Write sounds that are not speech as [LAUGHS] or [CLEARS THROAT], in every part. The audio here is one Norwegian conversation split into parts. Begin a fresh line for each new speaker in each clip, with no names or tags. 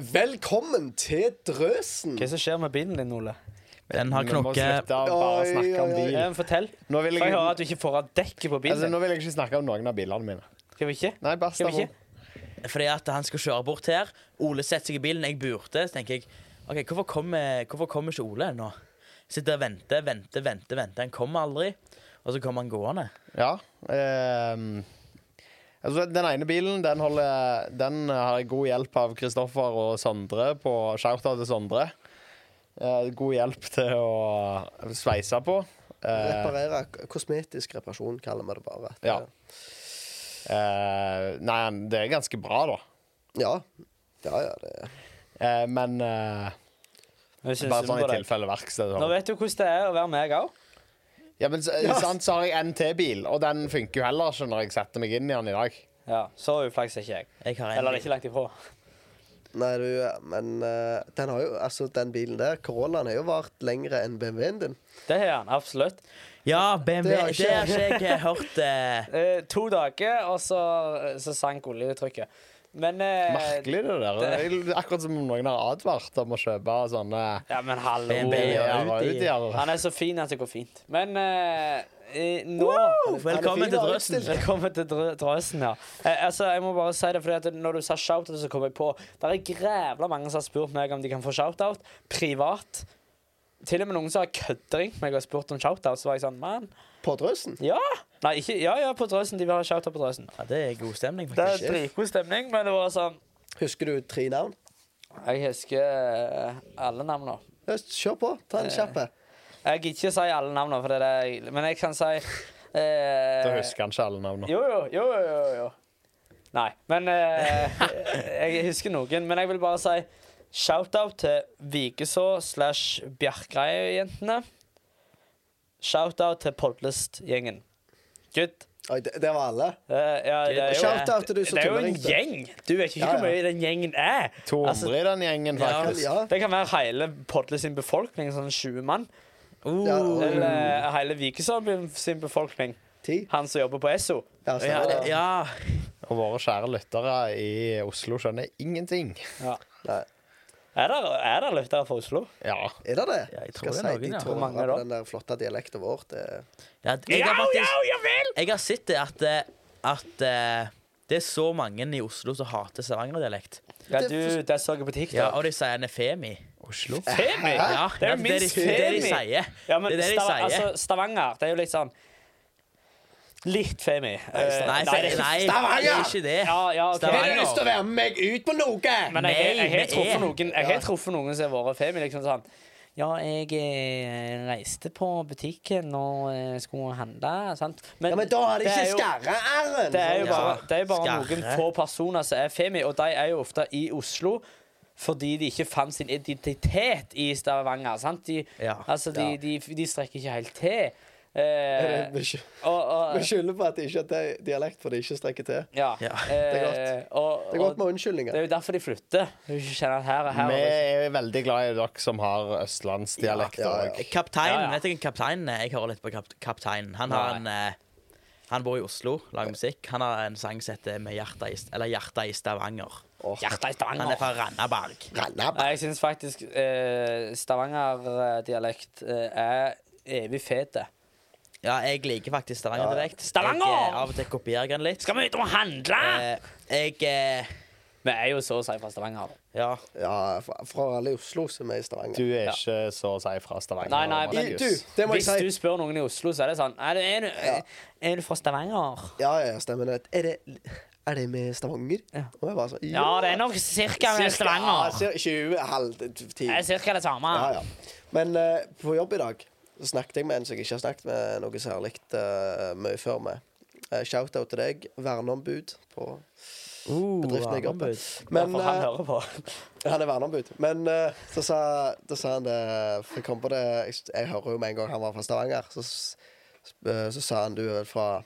Velkommen til Drøsen.
Hva er det som skjer med bilen din, Ole?
Den har
Vi må
knokket
slutte å bare
Oi,
snakke om
oi, oi.
bil.
Ja, men fortell.
Nå vil
Får jeg
jeg,
høre at du ikke får av dekket på bilen
altså,
din?
nå vil jeg ikke snakke om noen av bilene mine.
Skal vi ikke?
Nei, bare
Skal vi
Stavro.
ikke?
fordi at han skal kjøre bort her. Ole setter seg i bilen, jeg burte. Så tenker jeg OK, hvorfor kommer, hvorfor kommer ikke Ole ennå? Sitter og venter, venter, venter. venter Han kommer aldri. Og så kommer han gående.
Ja. ehm, altså, den ene bilen den, holder, den har jeg god hjelp av Kristoffer og Sondre på Shoutout til Sondre. Eh, god hjelp til å sveise på. Eh,
Reparere. k- Kosmetisk reparasjon, kaller vi det bare.
ja. Eh, nei, han- det er ganske bra, da.
Ja, ja, ja det er
Eh, men eh,
Nå synes
bare
du
sånn
på
i
deg.
tilfelle verksted.
Nå
sånn.
vet du hvordan det er å være meg òg.
Ja, men så,
Ja.
sant, så har jeg en til bil, og den funker jo heller ikke når jeg setter meg inn i den i dag.
Ja, så uflaks er ikke jeg.
Jeg har en
Eller det er ikke langt ifra.
Nei, du, men eh, den har jo Altså, den bilen der, Corollaen, har jo vart lengre enn BMW-en din.
Det har han absolutt.
Ja, BMW.
Det har ikke
Det har ikke jeg hørt. eh.
Eh, to dager, og så, så sank oljetrykket. Men eh,
Merkelig, det der. Det er akkurat som om noen har advart om å kjøpe sånne
Ja, men hallo.
BMW og
Audi-er og
Audi.
Audi-er.
Han er så fin at det går fint. Men eh, eh, nå
Velkommen
fin,
til
da,
Drøsen.
Aksel.
Velkommen til drø- drøsen, ja. Eh, altså, jeg må bare si det, fordi at når du sa shoutout, så kom jeg på Det er grævla mange som har spurt meg om de kan få shoutout privat. Til og med noen som har kødderingt meg og spurt om shoutout. Så var jeg sånn, man,
På Drøsen.
ja! Nei, ikke, ja, ja, på drøsen. De vil ha shoutout på drøsen.
Ja, det er god stemning,
Det er
faktisk.
dritgod stemning, men det var sånn
Husker du tre navn?
Jeg husker eh, alle navnene.
Ja, Kjør på. Ta en kjapp en.
Jeg gidder ikke å si alle navnene, for det er det jeg- men jeg kan si
Da
eh,
husker han ikke alle navnene.
Jo, jo, jo, jo, jo, jo. Nei, men eh, Jeg husker noen, men jeg vil bare si shout-out til Vikeså slash Bjerkreia-jentene. Shout-out til Podlest-gjengen. Good.
Oi, det, det var alle.
Eh, ja, det er jo,
Shout-out til du som
Det er jo en
tulleringte.
gjeng. Du vet ikke
Ja,
hvor
ja.
mye den gjengen er.
200
Altså,
i den gjengen,
Ja.
faktisk.
Ja.
det kan være hele Podlest sin befolkning, sånn 20 mann.
Ja,
Uh,
Eller eh, hele Vikeså sin befolkning.
Ti.
Han som jobber på Esso.
Ja,
ja,
stemmer.
det- ja.
Og våre kjære lyttere i Oslo skjønner ingenting.
Ja.
Nei.
Er det, er det lyttere fra Oslo?
Ja.
Er det det?
Ja, jeg tror
Skal
det er
si,
noen,
de
ja.
tror
Hvor mange
på
da?
Den der flotte dialekten vår. Det
ja jeg, har faktisk, jeg har sett det at, eh, at eh, det er så mange i Oslo som hater stavangerdialekt.
Ja,
Det
du, det så jeg på TikTok.
Ja, og de sier en er femi.
Oslo?
Femi? det
Ja,
er
ja,
jo
det, er de,
minst
det er de
femi.
sier.
Ja, men
Det er det de
Stava-
sier.
altså, Stavanger, det er jo litt sånn Litt femi. Eh,
Nei,
nei, det er
nei,
ikke-
nei,
Stavanger!
det er ikke det.
Ja, ja, ok.
Har du
Stavanger.
lyst til å være med meg ut på noe?
Men jeg, jeg, jeg,
Nei,
har
vi
truffet
er-
noen Jeg har truffet noen som har vært femi. Liksom sånn Ja, jeg eh, reiste på butikken og eh, skulle handle, sant. Men,
Ja, men da har de
det er
ikke
jo-
skarre-r-en.
Det er jo
Ja.
bare, det er jo bare
Skarre.
noen få personer som er femi, og de er jo ofte i Oslo fordi de ikke fant sin identitet i Stavanger. sant? De,
Ja.
altså, de,
Ja.
de, de strekker ikke helt til.
Er
Eh,
det- [LAUGHS] Vi sky-
og, og,
vi skylder på at de ikke har dialekt, for de ikke strekker til.
ja.
Ja.
Det er godt.
Eh, og,
Det er godt med
og det er
unnskyldninger.
jo derfor de flytter. De kjenner at her og her.
Vi er veldig glad i dere som har østlandsdialekter
Ja, ja, ja.
òg.
Kapteinen,
Ja, ja.
Eh, vet du hvem kapteinen er? Jeg hører litt på kap kapteinen. Han, har en, eh, han bor i Oslo, lager musikk. Han har en sang som heter Med hjertet i, St- eller hjertet i Stavanger.
Åh,
Hjertet i
Han
Stavanger.
er fra Randaberg.
Rannab.
Nei, jeg syns faktisk eh, Stavanger-dialekt eh, er evig fete.
Ja, jeg liker faktisk Stavanger direkt.
Stavanger!
Jeg, eh, av og til kopierer jeg den litt.
Skal vi ut og handle?
Eh, jeg eh,
Vi er jo så å si fra Stavanger.
Ja.
Ja, fra, fra alle i Oslo som er i
Du
Stavanger.
er ikke så å si fra Stavanger.
Nei, nei, men-
I,
Markus.
du, det må jeg
Hvis
si.
du spør noen i Oslo, så er det sånn Er du, er du, er du fra Stavanger?
Ja, ja, stemmer det. Er det, er det med Stavanger?
Ja.
Og jeg bare sånn,
Ja, det er nok cirka med
Ja,
Stavanger.
cir- 20, halv ti.
Det er cirka det samme.
Ja, ja. Men eh, på jobb i dag så snakket jeg med en som jeg ikke har snakket med noe særlig eh, mye før med. Eh, Shout-out til deg, verneombud på
Uh,
bedriften jeg jobber
verneombud.
på.
Men, for
Men
han
eh,
hører på.
[LAUGHS] han er verneombud. Men eh, så, sa, da sa han det For jeg kom på det Jeg, jeg hører jo med en gang han var fra Stavanger, så, s- eh, så sa han du er vel fra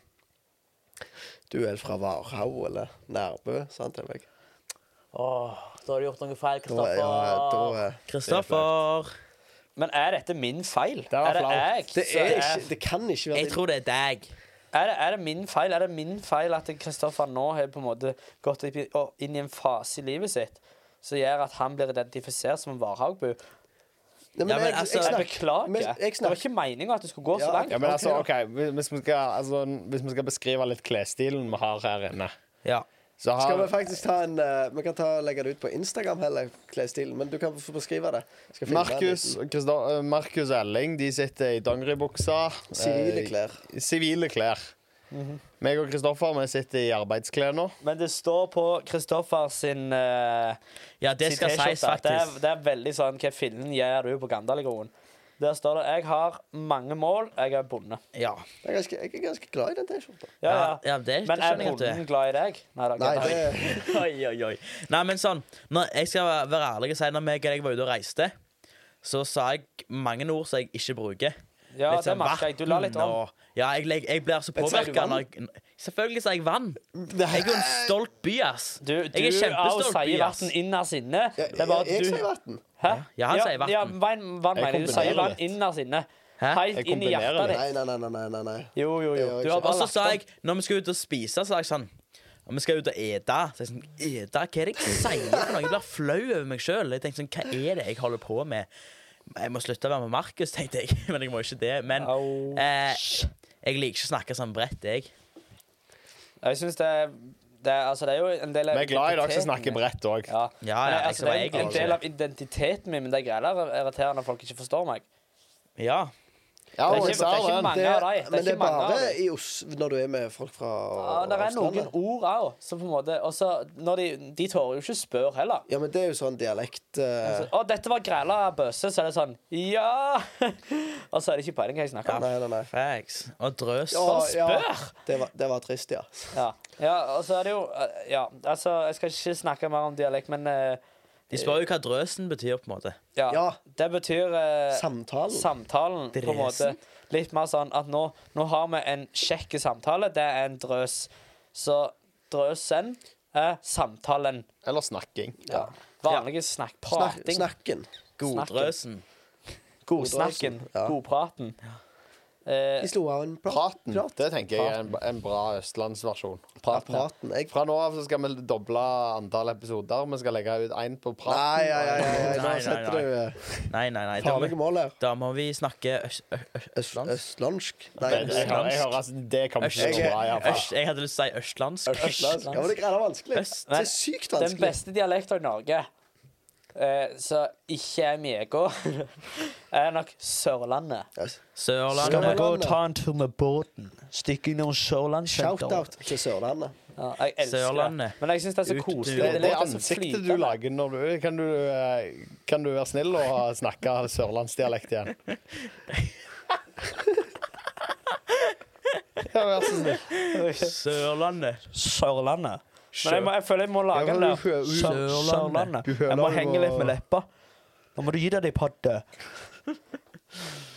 Du er vel fra Varhaug eller Nærbø, sa han til meg.
Åh, da har du gjort noe feil,
Da, ja, da,
Kristoffer.
eh,
Kristoffer.
Men er dette min feil?
var
Er det
flaut.
jeg?
det,
som
er ikke, det kan ikke være
Jeg tror det er deg.
er, det, er det min feil? Er det min feil at Kristoffer nå har på en måte gått opp i- og inn i en fase i livet sitt som gjør at han blir identifisert som en Varhaugbu.
Nei,
Ja, men
jeg,
altså-
jeg,
Jeg
snakk-
beklager.
men jeg
det var
snakk-
ikke meninga at det skulle gå
Ja,
så langt.
Ja, men altså,
Ok,
ok, Hvis vi skal, altså, hvis vi skal beskrive litt klesstilen vi har her inne
Ja.
så har,
Skal vi faktisk ta en eh, Vi kan ta, legge det ut på Instagram, heller, klesstilen. Men du kan få beskrive det. Skal finne en
Markus,
liten
Christo- eh, Markus Elling de sitter i dongeribuksa.
Sivile klær.
Eh, sivile klær.
Mhm.
Meg og Kristoffer vi sitter i arbeidsklær nå.
Men det står på Kristoffer sin eh,
ja, det
sin
skal
T-skjorte.
sies,
Det er,
faktisk.
det er veldig sånn Hva fillen gjør du på Gandalfgroen? Der står det 'Jeg har mange mål. Jeg er bonde'.
Ja.
Jeg er ganske, jeg er ganske glad i den T-skjorta.
Ja, ja.
Ja, ja,
men
det
er
skjønner jeg at du er.
bonden glad i deg? Nei, da,
Nei,
Gandalf.
det
[LAUGHS]
Oi, oi, oi. Nei, men sånn, når jeg skal være- være ærlig og si når meg og deg var ute og reiste, så sa jeg mange ord som jeg ikke bruker.
ja,
Litt
det
sånn
merker jeg. Du la litt
vann
om.
og- Ja, jeg, jeg, jeg blir så
Men sier du
påvirka når
vann?
jeg Selvfølgelig sier jeg vann. Jeg er jo en stolt by, ass.
Du, du
jeg er
Ao
kjempestolt by,
sier
ass.
vann innerst inne.
Ja,
Det er bare
jeg, jeg sier
at du
vann.
Hæ?
Ja, han sier vann.
Ja, vann, vann
Jeg
mener du. Du
kombinerer
sier vann
litt.
innerst inne.
Hæ?
Helt
Jeg
inn i hjertet
kombinerer
Nei,
ditt.
nei, nei. nei, nei, nei, nei.
Jo, jo, jo.
Jeg gjør
Du
ikke
har
Og
bare
så
lagt
sa jeg,
opp.
når vi skal ut og spise, så sa jeg sånn og vi skal ut og ete. Så jeg sånn, ete? Hva er det jeg sier for noe? Jeg blir flau over meg sjøl. Jeg tenkte sånn, hva er det jeg holder på med? Jeg må slutte å være med Markus, tenkte jeg. [LAUGHS] Men jeg må ikke det. Men
Au.
eh, jeg liker ikke å snakke sånn bredt, jeg.
Jeg syns det, er- det er- Altså, det er jo en del av
Vi er glad i dere som
identiteten
snakker
min.
bredt òg.
Ja,
Ja,
Men
ja, jeg
altså,
skal
det
være
er en
egentlig
del av identiteten min, men det er greit det er irriterende at folk ikke forstår meg.
Ja.
Ja,
Det er
og
ikke-
jeg sa
det er ikke
den.
mange
Det,
av deg. Det er
men det
ikke
er
mange av
bare
deg.
i Os når du er med folk fra
Ja, det er noen
Østlandet.
ord òg, som på en måte Og så når de De tør jo ikke spørre heller.
Ja, men det er jo sånn dialekt eh,
Så, 'Å, dette var græla bøsse', så er det sånn Ja! [LAUGHS] og så er det ikke peiling hva jeg snakker om.
Nei, nei, nei.
Facts. Og drøs.
Ja, ja.
spør!
Det var, det var trist, ja.
Ja. ja, og så er det jo Ja, altså, jeg skal ikke snakke mer om dialekt, men eh,
De spør jo hva drøsen betyr, på en måte.
ja,
Ja.
Det betyr eh,
Samtalen.
samtalen, på en måte.
Dresen?
Litt mer sånn at nå, nå har vi en kjekk samtale. Det er en drøs. Så drøsen er samtalen.
Eller snakking.
Ja. Vanlige snakk.
Snak,
Prating.
snakken.
Goddrøsen.
Godsnakken.
Ja.
Godpraten. Eh,
De slo av en prat.
Praten. Det tenker jeg er en, en bra østlandsversjon. Praten.
Ja, praten. Jeg-
Fra nå av så skal vi doble antall episoder. Vi skal legge ut én på praten.
Nei, nei, nei, nei,
Nei,
nå
nei,
setter
nei.
du eh,
Nei, nei, nei. Da
farlige
må,
mål her.
da må vi snakke øst... ø- ø-
Øst, østlandsk? Nei,
Jeg, jeg, hører- jeg hører at det kommer ikke til å gå bra. i hvert fall.
øst- Jeg hadde lyst til å si østlandsk.
østlandsk. Ja, men det er vanskelig.
Øst-
Det er sykt
den
vanskelig.
beste dialekten i Norge, eh, som ikke er mjegå, [LAUGHS] er nok Sørlandet.
Yes. Skal vi
Sørlandet.
gå og ta
en tur med båten? Stikke innom Sørlandssenteret?
Shout-out til Sørlandet.
Ja, jeg elsker
Sørlandet.
det. Men jeg syns det er så
Ut-
koselig.
Det, det
er sånn så
ansiktet du
flytende.
lager når du Kan du, eh, kan du være snill og snakke sørlandsdialekt igjen? Ja, vær så snill.
Sørlandet.
Sørlandet. Men jeg, må, jeg føler jeg må lage
Ja,
den
men
der.
du hører- du-
Sør- Sørlandet.
du hører
Jeg må
det
henge
på-
litt med leppa. Nå må du gi deg de padde.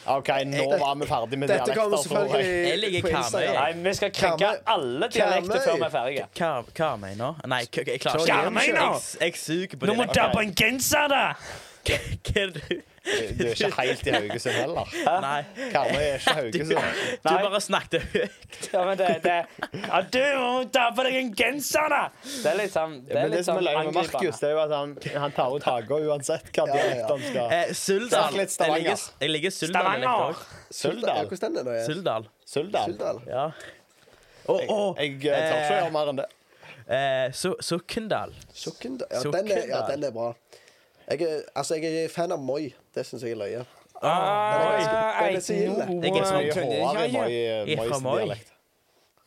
OK, nå var vi ferdig med
Dette kommer
dialekter, tror jeg.
altså. Jeg
selvfølgelig
liker
på
Karmøy.
Nei,
Instagram.
vi skal krenke
Karmøy.
alle dialekter
Karmøy.
før vi er ferdige.
Hva, hva mener du? Nei, k- jeg klarer
Hva mener du?
Jeg, jeg suger på
Nå må
dialekt.
dabbe en genser, da!
Hva er det du
Du er ikke helt i Haugesund heller.
Nei.
Karmøy er ikke Haugesund.
[LAUGHS] Du
Nei.
bare snakket høyt.
Ja, men det, det Ja, du må dabbe deg en genser, da! Det er litt sånn Det er
Men det
litt
som
sånn
er løgn med Markus,
angripende.
det er jo at han, han tar ut haka uansett hva
Ja, ja, ja.
dialekt han skal.
Eh, Suldal.
Snakk litt
Jeg
Stavanger.
ligger, jeg ligger i Suldal.
Stavanger!
dialekt også.
Ja,
Suldal.
hvordan er det nå? igjen?
Suldal.
Suldal.
Suldal.
Ja. Og, og
Jeg eh, tør ikke å gjøre mer enn det.
eh, Su- Sukkendal.
Sukkendal. Ja, den er, ja, den er bra. Jeg er, altså, jeg er fan av Moi. Det syns jeg er løye.
Ah,
Den er så ille.
jeg
Jeg er så
Jeg er hårere i Moi-
Jeg er fra
Mois
Moi.
dialekt.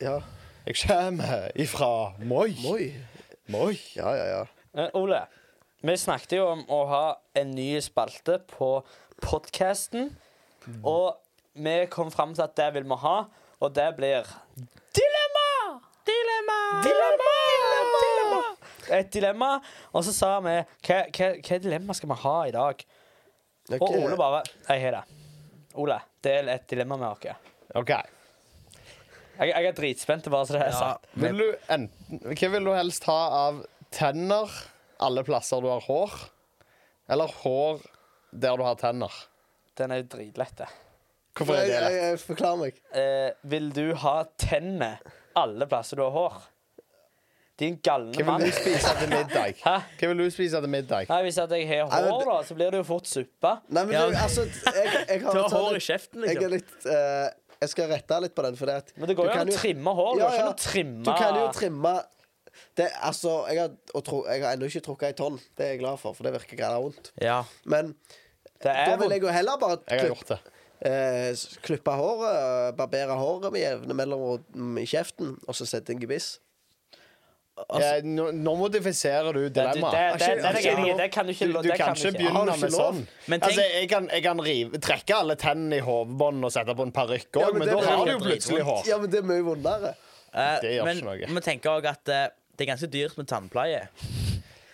Ja.
Jeg kommer ifra Moi.
Moi.
Moi.
Ja, ja, ja.
Eh, Ole, vi snakket jo om å ha en ny spalte på podcasten, og vi kom frem til at det vil vi ha, og det blir Dilemma! Dilemma! Dilemma! Et dilemma, og så sa vi, hva, hva, hva dilemma skal vi ha i dag?
Ok.
Og Ole bare, jeg har det. Ole, del et dilemma med dere.
OK.
Jeg, jeg er dritspent bare så det er
Ja,
sant.
Vil du enten, hva vil du helst ha av tenner alle plasser du har hår, eller hår der du har tenner?
Den er jo dritlett det.
Hvorfor er
Jeg,
det
jeg,
det?
jeg forklarer meg.
Eh, vil du ha tennene alle plasser du har hår? Din galne
Hva
mann.
vil du spise til middag?
Hæ?
Hva vil du spise til middag?
Nei, Hvis at jeg har
Nei, men
hår,
det-
da, så blir det jo fort suppe.
Nei, men
Ja.
du, altså Jeg,
[LAUGHS]
jeg
Du
har
har
sånn
hår i
litt-
kjeften,
Jeg er
liksom.
litt eh, Jeg skal rette litt på den, for det at
Men det går
du
jo
kan
an å trimme hår. Du
Ja,
har ikke
ja.
noe trimme
Du kan jo trimme det, altså, jeg har, og tro, jeg har ennå ikke trukket ei tonn. Det er jeg glad for, for det virker greit vondt.
Ja.
Men
Det
da
er
vil
vondt.
jeg jo heller bare
Jeg har
klipp-
gjort det.
eh, s- klippe håret, eh, barbere håret med jevne mellomrom i kjeften, og så sette en gebiss.
Jeg, nå, nå modifiserer du
Det, det, det,
dilemmaet.
det, det,
Har
det,
ikke-
det, det kan du ikke
Du,
lo-
du
det
kan
du
ikke
Har
begynne
du ikke
med
lov?
sånn.
Men
altså,
tenk-
jeg kan, jeg kan rive, trekke alle tennene i hovedbånd og sette på en parykk òg,
Ja, men
men,
det
da
blir
har
jo
du jo plutselig
dritvondt.
hår.
Ja, men det er mye vondere.
Eh,
Det gjør
men
ikke noe.
vi tenker òg at eh, det er ganske dyrt med tannpleie.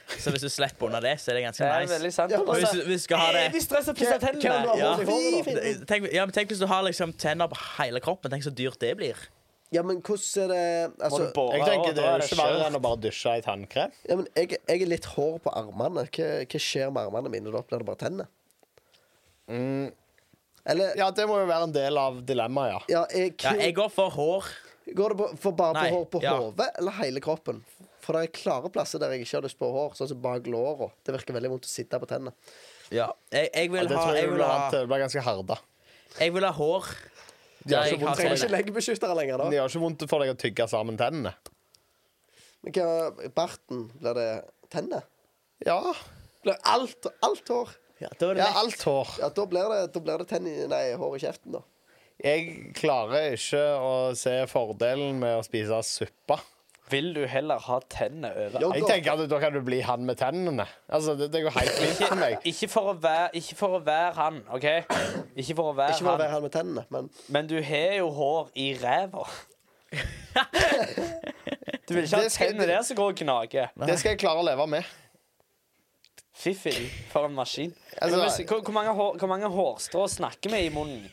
Så hvis du slipper unna det, så er det ganske
Det er
nice.
veldig sant.
Ja, men-
Og
Altså,
Hvis, hvis du skal ha
er
det
de stresser å pusse
Hvem- hvem
tennene.
du har
Ja.
vondt i håret da?
tenk, ja, men tenk hvis du har liksom tenner på hele kroppen. Tenk så dyrt det blir.
Ja, men hvordan er det
Må du
Altså,
bore,
Jeg
og
tenker Det
da
er jo ikke verre
skjørt.
enn å bare dusje i tannkrem.
ja, men jeg, jeg er litt hår på armene. Hva, hva skjer med armene mine? Da blir det bare tenner. Eller
Ja, Det må jo være en del av dilemmaet, ja.
ja, jeg,
Ja, jeg går for hår.
Går det på, for bare
Nei,
på hår på
ja.
hodet eller hele kroppen? For det er klare plasser der jeg ikke har lyst på hår, sånn som bak låra. Det virker veldig vondt å sitte på tennene.
Ja. Jeg, jeg,
Ja,
vil
det
ha,
tror jeg
jeg,
du
vil
blir
ha,
vant til. Du blir ganske herda.
jeg vil ha hår der
så vondt
jeg har
Du trenger ikke
tenner.
leggebeskyttere lenger
Det
da.
gjør ikke vondt for deg å tygge sammen tennene.
Men hva, barten, blir det tenner?
Ja,
Blir alt, alt hår?
Ja, da er det
ja
lett.
alt hår.
Ja, da blir det, da blir det tenn i, nei, hår i kjeften, da.
Jeg klarer ikke å se fordelen med å spise suppe.
Vil du heller ha tennene over?
Jo.
Jeg tenker at Da kan du bli han med tennene. Altså, Det, det går helt fint for
[LAUGHS]
meg.
Ikke for, å være, ikke for å være han, OK? Ikke for å være
Ikke bare
han,
være her med tennene, men
men du har jo hår i ræva. Du vil ikke ha
Det skal-
tennene der som går og gnager.
Det skal jeg klare å leve med.
Fiffi for en maskin.
Altså-
Men hvis- hvor, hvor, mange hår, hvor mange hårstrå snakker vi i munnen?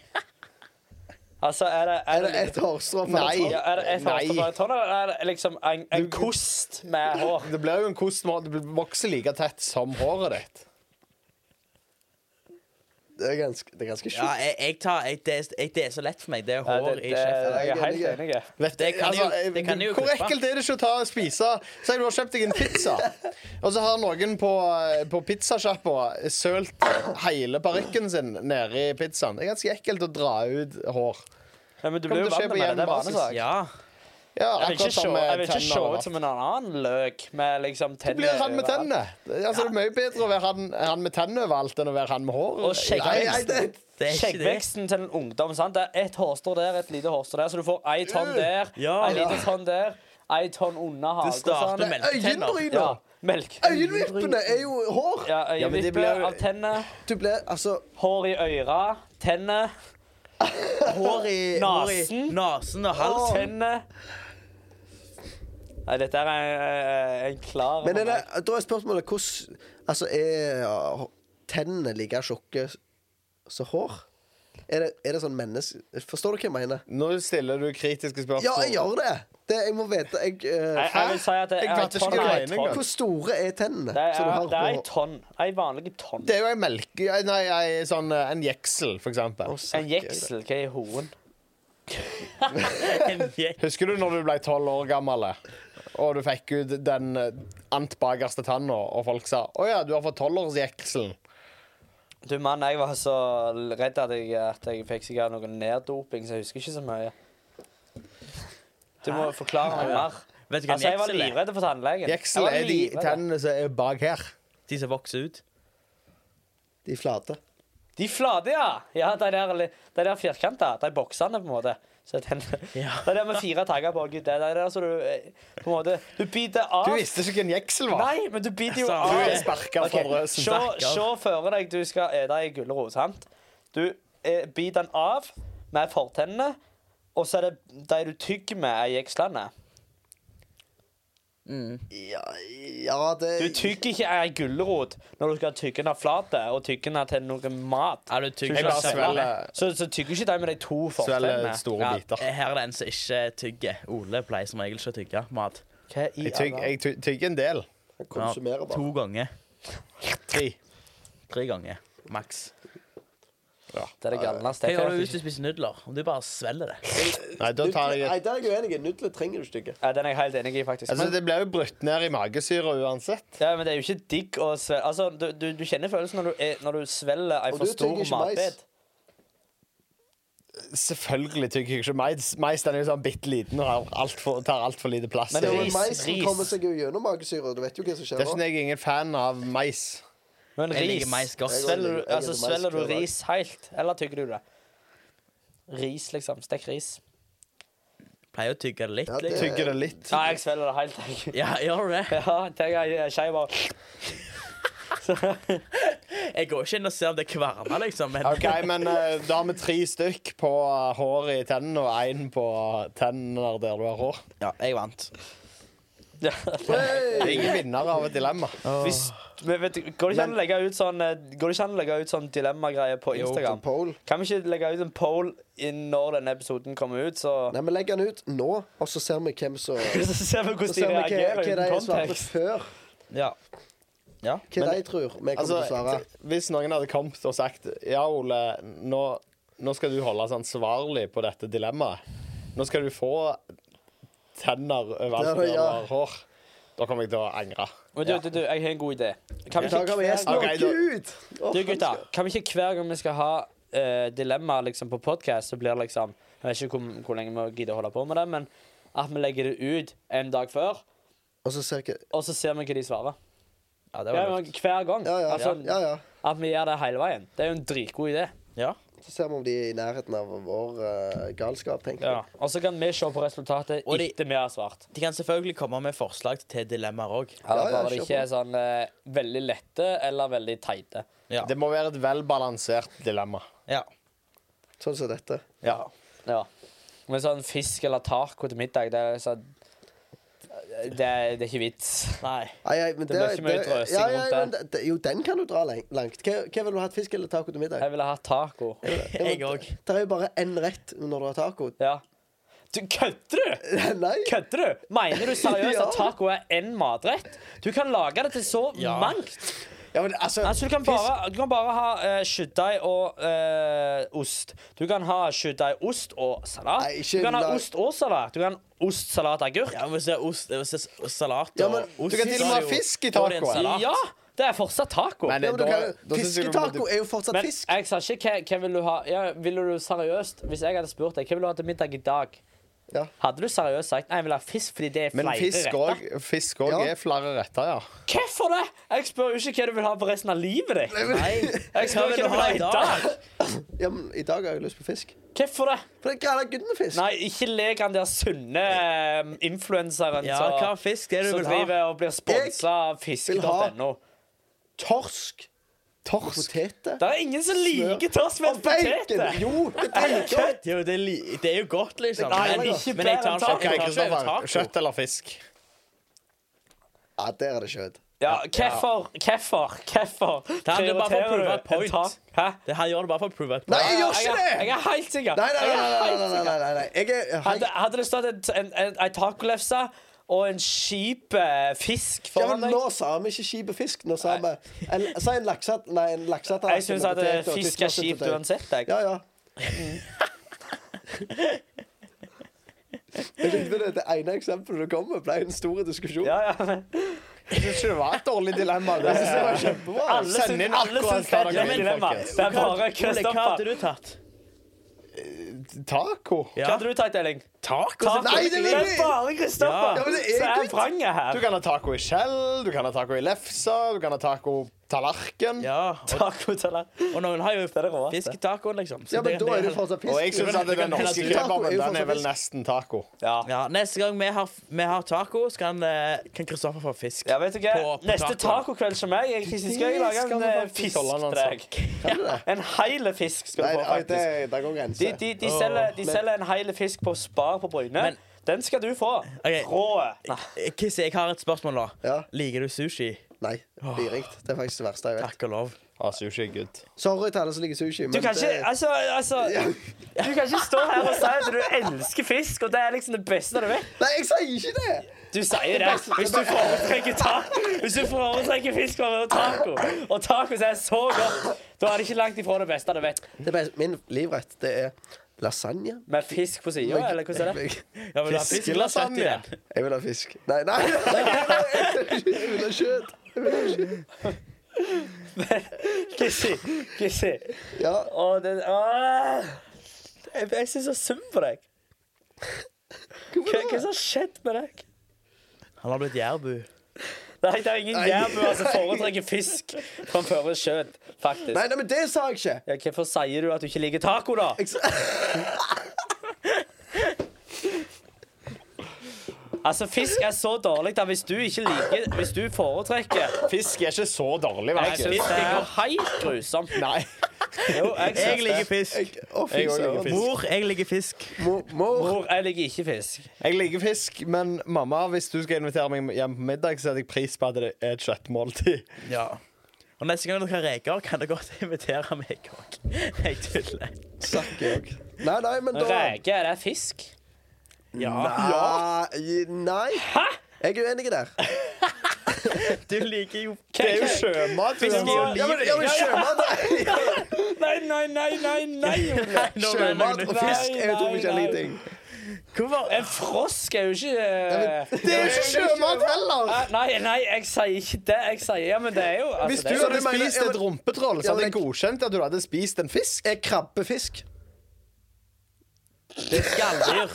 Altså, er det, er
Er det
det,
ett hårstrå per
Nei.
tråd?
ja, er det et
Nei.
hårstrå per tonn, eller er det liksom en, en
Du-
kost med hår?
Det blir jo en kost med- Det vokser like tett som håret ditt.
Det er ganske, det er ganske
Ja,
sjukt.
jeg, jeg tar, jeg, det, er- jeg, det er så lett for meg. Det er
Ja,
hår
det, det,
i kjeften.
jeg er helt
Jeg er
enig.
Vet du,
Det kan jo- det kan jo
altså, Hvor
klippe.
ekkelt er det ikke å ta og spise Si du har kjøpt deg en pizza, og så har noen på, på pizzasjappa sølt hele parykken sin nedi pizzaen. Det er ganske ekkelt å dra ut hår.
Ja, men du
Kommer
blir jo
til å skje
vant
på
med det. Det
jevn
er
basis.
vanesak.
Ja.
Ja,
Jeg vil ikke
akkurat
se,
som med
jeg vil ikke se
tenner.
ut som en annen løk med liksom
Du blir
tenner
han med
overalt.
tennene. Altså, det er mye bedre å være han, han med tennene overalt enn å være han med hår.
Og skjegg.
Nei,
Nei, det-
Det er ikke det.
Skjeggveksten til en ungdom. sant? Det er ett hårstrå der, et lite hårstrå der, så du får ei tonn der,
Ja.
ei lite tonn der, ei tonn under
Det
hagen. sånn.
starter med melketenner.
ja,
Øyenbryna!
melk.
Øyenvippene er jo hår!
Ja,
Ja, men
øyevipper
det blir jo-
av tenner,
Du blir altså
hår i øra, tenner,
Hår i hår i-
Nasen.
Nasen og halsen. [LAUGHS]
tenner Nei, dette er eh, en, en klar
Men er det, da er spørsmålet hvordan Altså, er uh, tennene like tjukke som hår? Er det, er det sånn menneske... Forstår du hva jeg mener?
Nå stiller du kritiske spørsmål.
Ja, jeg gjør det! det jeg må vite jeg, uh,
jeg, jeg vil si at det
Jeg
er ei
vet ikke
tonn.
hva
er
jeg
en
mener
tonn.
engang.
Hvor store er tennene?
Det
som du
er
har
det er ei
på-
tonn. Ei vanlig tonn.
Det er jo ei melke... Nei, ei, sånn, eh, en jeksel, for eksempel.
Å, søkker
En jeksel, hva er hoen?
En gjeng.
Husker du når du ble tolv år gammel, eh? og du fikk ut den eh, ant bakerste tanna, og folk sa 'Å ja, du har fått tolvårsjekselen'?
Du, mann, jeg var så redd at jeg, at jeg fikk sikkert noe neddoping, så jeg husker ikke så mye. Du må forklare meg mer.
Vet du hva
Altså, jeg var
jeksel er?
livredd for tannlegen.
Jeksel
Jeg var
er de
livredd.
tennene som er bak her.
De som vokser ut.
De flate.
De flate, ja! Ja, De der, li- de der firkanta. De boksene, på en måte. Så den,
Ja.
[LAUGHS] Det der med fire tagger bak. Det er der så du eh, på en måte Du biter av.
Du visste ikke hva en jeksel var.
Ah, Nei, men du biter jo
Sant.
av.
Du er sparka
Ok,
fra brøsen.
Se se for deg du skal ete ei gulrot. sant? Du eh, biter den av med fortennene, og så er det de du tygger med, er jekslene.
Ja, ja det
Du tygger ikke ei gulrot når du skal tygge den av flatet og tygge den til noe mat.
Er du tygg?
Jeg bare
Så-
svelger-
Så, så tygger ikke de med de to
Svelger
fortennene.
store biter.
eh, Her er det en som ikke tygger. Ole pleier som regel ikke å tygge mat.
Hva i
Jeg tygg-
all verden?
jeg ty- tygger en del.
Jeg konsumerer
To
bare.
ganger.
Tre.
Tre ganger. Maks.
Det er det galneste.
Hva
Jeg
gjør du
kan
hvis du
ikke-
spiser nudler? Om du bare svelger det?
Nei, da tar jeg
Nei, der er jeg uenig. Nudler trenger du ikke.
Ja, den er jeg helt enig i, faktisk.
Altså,
Men,
Det blir jo brutt ned i magesyra uansett.
ja, men det er jo ikke digg å svelge Altså, du, du, du kjenner følelsen når du, er, når du svelger en
Og
for
du
stor
tygger ikke mais.
matbit.
Selvfølgelig tygger jeg ikke mais. Mais den er jo sånn bitte liten og har alt for, tar altfor lite plass.
Men
Det er jo
ris,
Meisen
ris.
kommer seg jo gjennom magesyra. Du vet jo hva som skjer
Derfor
nå.
er jeg ingen fan av mais.
Men
Jeg
ris
liker mais godt.
Jeg
Svelger du,
liker- jeg
altså,
liker mais
svelger du
hver dag.
ris helt, eller tygger du det? Ris, liksom. Stekk ris.
Pleier å tygge det litt.
Ja, det-
liksom.
Tygger det litt.
Nei, jeg svelger det helt. Jeg.
Ja, gjør du det?
[LAUGHS] Ja, tenker jeg skei [LAUGHS] bare
Jeg går ikke inn og ser om det kverner, liksom. Men
OK, men eh, da har vi tre stykk på eh, håret i tennene og én på tenner der du har hår.
ja, jeg vant.
ja.
Det er
Hey!
ingen vinner av et dilemma.
Hvis, men vet, du, går det ikke an å legge ut sånn eh, Går det ikke an å legge ut sånn dilemmagreie på
Jo,
Instagram?
Poll.
Kan vi ikke legge ut en poll inn når denne episoden kommer ut, så
Nei, men legg den ut nå, og så ser vi hvem som
[LAUGHS] Så ser vi hvordan
Så
de
ser vi hva,
reagerer
hva de
uten
svarte
kontekst.
før.
Ja. ja.
Hva de tror vi kommer
Altså,
til å svare.
t- hvis noen hadde kommet og sagt Ja, Ole, nå, nå skal du holdes ansvarlig på dette dilemmaet. Nå skal du få tenner overalt
Ja,
der du
ja.
har hår. Da kommer jeg til å angre.
Men du, du, du, jeg har en god idé. Kan vi
Da
ikke
kan vi gjesten
Ok, da-
ut!
Du gutta, kan vi ikke hver gang vi skal ha eh, dilemma liksom, på podkast, så blir det liksom Jeg vet ikke hvor, hvor lenge vi gidder å holde på med det, men at vi legger det ut en dag før,
Og så ser jeg ikke-
og så ser vi hva de svarer.
ja,
Ja,
det var
men
lurt.
hver gang.
Ja, ja.
Altså,
ja, ja.
At vi gjør det hele veien. Det er jo en dritgod idé.
Ja.
Så ser vi om de er i nærheten av vår eh, galskap, tenker jeg.
Og så kan vi se på resultatet
Og de-
etter vi har svart.
De kan selvfølgelig komme med forslag til dilemmaer òg.
Ja,
Eller
ja,
bare det
kjør
ikke
på.
er sånn eh, veldig lette eller veldig teite.
Ja.
Det må være et velbalansert dilemma.
ja.
Sånn som dette.
Ja.
Ja. Men sånn fisk eller taco til middag, det er sånn Det, er- det er ikke vits.
Nei.
Ai, ai, men
Det blir ikke mye drøsing
ja, ja,
rundt der.
men det- det- Jo, den kan du dra lang- langt. Hva, hva vil du ha? et Fisk eller taco til middag?
Jeg ville hatt taco.
Jeg òg.
Det er jo bare én rett når du har taco. [LAUGHS]
Ja. Du kødder du?!
Nei!
Kødder du?! Mener du seriøst
Ja.
at taco er én matrett? Du kan lage det til så
Ja.
mangt.
Ja, men, altså,
Altså, du kan bare, du kan bare ha uh, kjøttdeig og eh, ost. Du kan ha kjøttdeig, ost og salat.
Nei, ikke
du kan ha
lag-
ost og salat. Du kan ha ost, salat, agurk.
Ja, men se ost, eh, se s- salat og
Ja, men
ost.
du kan til og med ha fisk i
Da er det en
tacoen.
salat.
Ja! Det er fortsatt taco.
Men,
Men,
ja, men du kan,
Da- da synes jeg du må-
Fisketaco er jo fortsatt fisk. [LAUGHS]
jeg sa ikke hva, hva vil du ha ja, Ville du seriøst Hvis jeg hadde spurt deg hva vil du ha til middag i dag,
Ja.
hadde du seriøst sagt Nei, jeg vil ha fisk fordi det er
Men
flere
fisk
retter?
òg fisk òg
Ja.
er flere retter, ja.
Hvorfor det? Jeg spør jo ikke hva du vil ha på resten av livet ditt.
Nei.
Jeg
Hva
spør hva
vil
du vil ha i dag.
Ja, men I dag har jeg lyst på fisk.
Hvorfor det?
For det er græla gutten med fisk.
Nei, ikke lek han der sunne um, influenseren
Ja,
som-
hva fisk er det du
som
vil ha?
driver og blir sponsa av fisk.no.
Torsk.
Torsk.
Poteter.
Det er ingen som liker torsk med
Og bacon!
poteter.
Jo, det er dritgodt.
Det er jo- det, er li- det er jo godt, liksom.
Nei,
men,
ikke
men jeg tar
bedre enn
OK,
ikke- jeg tar ikke over
Kristoffer.
taco.
sånn Kjøtt eller fisk?
Ja, der er det kjøtt.
Ja, hvorfor? Hvorfor? Hvorfor?
handler bare om å
prioriterer
prøve
du
et point.
en tak- Hæ?
Det her gjør det bare for å prove et
Nei,
poeng.
jeg gjør ikke
Jeg er-
det!
Jeg er helt sikker.
Nei, nei,
Jeg
nei.
er
nei,
helt
nei, nei,
sikker.
nei, nei, nei. Jeg er hei.
Hadde, hadde det stått en, en, en, en tacolefse og en kjip eh, fisk
ja,
foran
men
deg
Nå sa vi ikke skip og fisk. Nå sa vi en, sa en lakset, Nei, en lakset
Jeg syns at eh, fisk er kjipt uansett. Jeg.
Ja, ja. Jeg likte det, det ene eksempelet du kom med, ble en stor diskusjon.
Ja, ja, men
Jeg syns ikke det var et dårlig dilemma. Det synes jeg var kjempebra.
Alle
Send
syns
inn
alle syns
akkurat
det
hva
er
dere
et
vil,
dilemma.
folkens.
Det er bare
Ole, hva hadde
Kristoffer.
du tatt?
Taco?
Hva hadde du tatt, Elling?
Taco?
Taco.
Nei, det
det
vil
er
jeg-
bare Kristoffer
Ja, men det er
som er
gutt.
Du
vranget her.
kan ha taco i skjell, du kan ha taco i lefse, du kan ha taco tallerken.
Ja, og,
Tacotallerken.
og noen har jo
er det råeste.
fisketacoen, liksom. Så
Ja,
det-
men da
det
er det fortsatt fisk.
Og jeg syns at den norske
Taco er jo
kebaben den er
fortsatt
vel
fisk.
nesten taco.
Ja.
Ja, Neste gang vi har, vi har taco, så kan, eh, kan Kristoffer få fisk.
ja, vet du hva?
På- på
Neste
tacoen.
tacokveld som jeg Jeg synes skal jeg lage
Skal
en
vi
eh,
faktisk holde den, altså?
fisk til deg. En heil fisk skal
Nei,
du få,
nei, det,
faktisk.
det går
De,
grenser.
de, de, selger, de selger en heil fisk på Spar på Bryne.
Men-
Den skal du få.
Ok.
Rå. Nei.
Kissi, Eh, jeg har et spørsmål nå.
Ja.
Liker du sushi?
Nei, biringt. Det er faktisk det verste jeg vet.
Takk og lov.
Ja, sushi er good.
Sorry til alle som liker sushi, men
Du kan
det,
ikke Altså, altså Du kan ikke stå her og si at du elsker fisk, og det er liksom det beste du vet.
Nei, jeg sier ikke det!
Du sier det hvis du foretrekker, ta hvis du foretrekker fisk over taco. Og tacos er så godt. Da er det ikke langt ifra det beste du vet.
Det er bare, min livrett det er lasagne.
Med fisk på sida, eller hvordan er det?
Ja, men du har fisk eller kjøtt i den?
Jeg vil ha fisk. Nei, nei! [LAUGHS] nei, nei, nei jeg vil ha kjøtt.
[LAUGHS] Kissi, kissi.
Ja.
Å, det åh. Jeg, jeg syns så synd på deg. Hva hva er det som har skjedd med deg?
Han har blitt jærbu.
Nei, det er ingen
Nei.
jærbuer som altså foretrekker fisk framfor kjøtt, faktisk.
Nei, nei, men det sa jeg ikke!
Ja, hvorfor sier du at du ikke liker taco, da?
Jeg sa-
Altså, fisk er så dårlig at hvis du ikke liker Hvis du foretrekker
Fisk er ikke så dårlig,
Jeg
verken.
syns det er helt grusomt.
Nei.
Jo, jeg,
Jeg
synes
liker
det.
fisk.
jeg- Å, fy
Jeg også liker
søren.
fisk.
Mor, jeg liker fisk.
Mor, mor.
Mor, jeg liker ikke fisk.
Jeg liker fisk, men mamma, hvis du skal invitere meg hjem på middag, setter jeg pris på at det er et kjøttmåltid.
Ja. Og neste gang dere har reker, kan dere godt [LAUGHS] invitere meg òg. [LAUGHS] Jeg tuller.
Sakk jeg. Nei, nei, men da
Reke, er det fisk?
Ja. Nei. Jeg er uenig der.
Du liker jo
Hva-
Det [LAUGHS] er jo
hva-
sjømat. liksom. du.
Fisk er jo
Ja, men, ja, men sjømat er-
Nei, nei, nei, nei, nei, Ole.
Sjømat og fisk er jo
Nei,
to
nei, nei.
forskjellige ting.
Hvorfor?
En frosk er jo ikke
Det er jo ikke sjømat heller!
Eh, Nei, nei, jeg sier ikke det. Jeg sier Ja, men det er jo altså,
Hvis du
det er jo-
hadde
Så du mener-
spist
ja, men-
et rumpetroll,
Ja,
så hadde
men-
jeg godkjent at du hadde spist en fisk.
Er krabbefisk?
Det er skalldyr.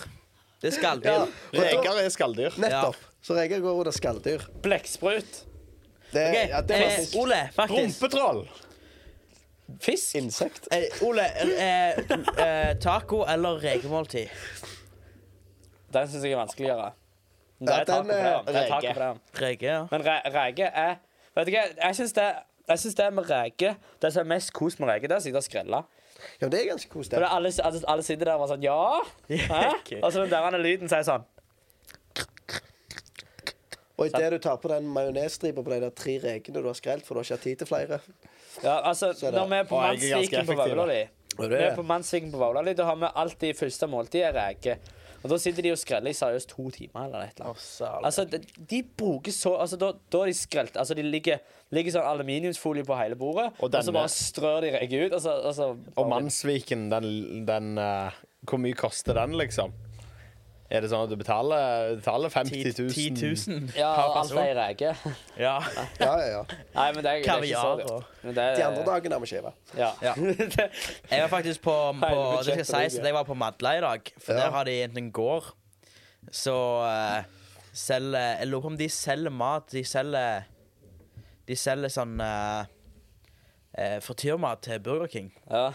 Det er
Ja.
skalldyr.
Og da,
Reker er skalldyr.
nettopp. Så reker går under skalldyr.
Blekksprut.
Det,
Ok,
ja, det er
eh, Ole, faktisk.
Rumpetroll.
Fisk.
insekt.
Eh, Ole, eh, eh, taco eller rekemåltid?
Den syns jeg er vanskeligere. Men
Ja,
Det er taco
den
på
er
den. Det er taco
reke.
på den.
Reke, ja.
Men re reke er Vet du hva, jeg syns det jeg synes det er med reke Det som er mest kos med reke, det er å sitte og skrelle.
Ja, men det er ganske koselig.
For det er alle, alle, alle sitter der og bare sånn Ja! Hæ?
ok.
Og så den der andre lyden sier sånn
Og idet du tar på den majonesstripa på de der tre rekene du har skrelt, for du har ikke hatt tid til flere
Ja, altså,
er det-
når vi er på
Å, jeg er ganske
Mannsviken på
effektiv, da.
Vaulali
Og
Når vi er på Mannsviken på Vaulali, da har vi alltid første måltid er reke. Og da sitter de og skreller i seriøst to timer eller et eller annet. Altså, de, de bruker så Altså, da, da er de skrelt. Altså, de ligger, ligger sånn aluminiumsfolie på hele bordet,
Og
og, så
denne.
bare strør de reke ut, og så, og så
Og Mannsviken, den, den eh, Hvor mye koster den, liksom? Er det sånn at du betaler, betaler 50 000?
10 000.
Ja,
per
alt
person.
er i reke.
Ja.
Ja, ja, ja.
Nei, men det er, det er ikke så
Kaviar og-
godt. Men det er-
De andre dagene er vi skjeve.
[LAUGHS] Ja.
Ja. Jeg var faktisk på,
Hele
på Det skal
budsjettet
sies at jeg var på Madla i dag, for
Ja.
der har de enten gård Så eh, selger Jeg lurer på om de selger mat. De selger De selger sånn uh, frityrmat til Burger King.
Ja.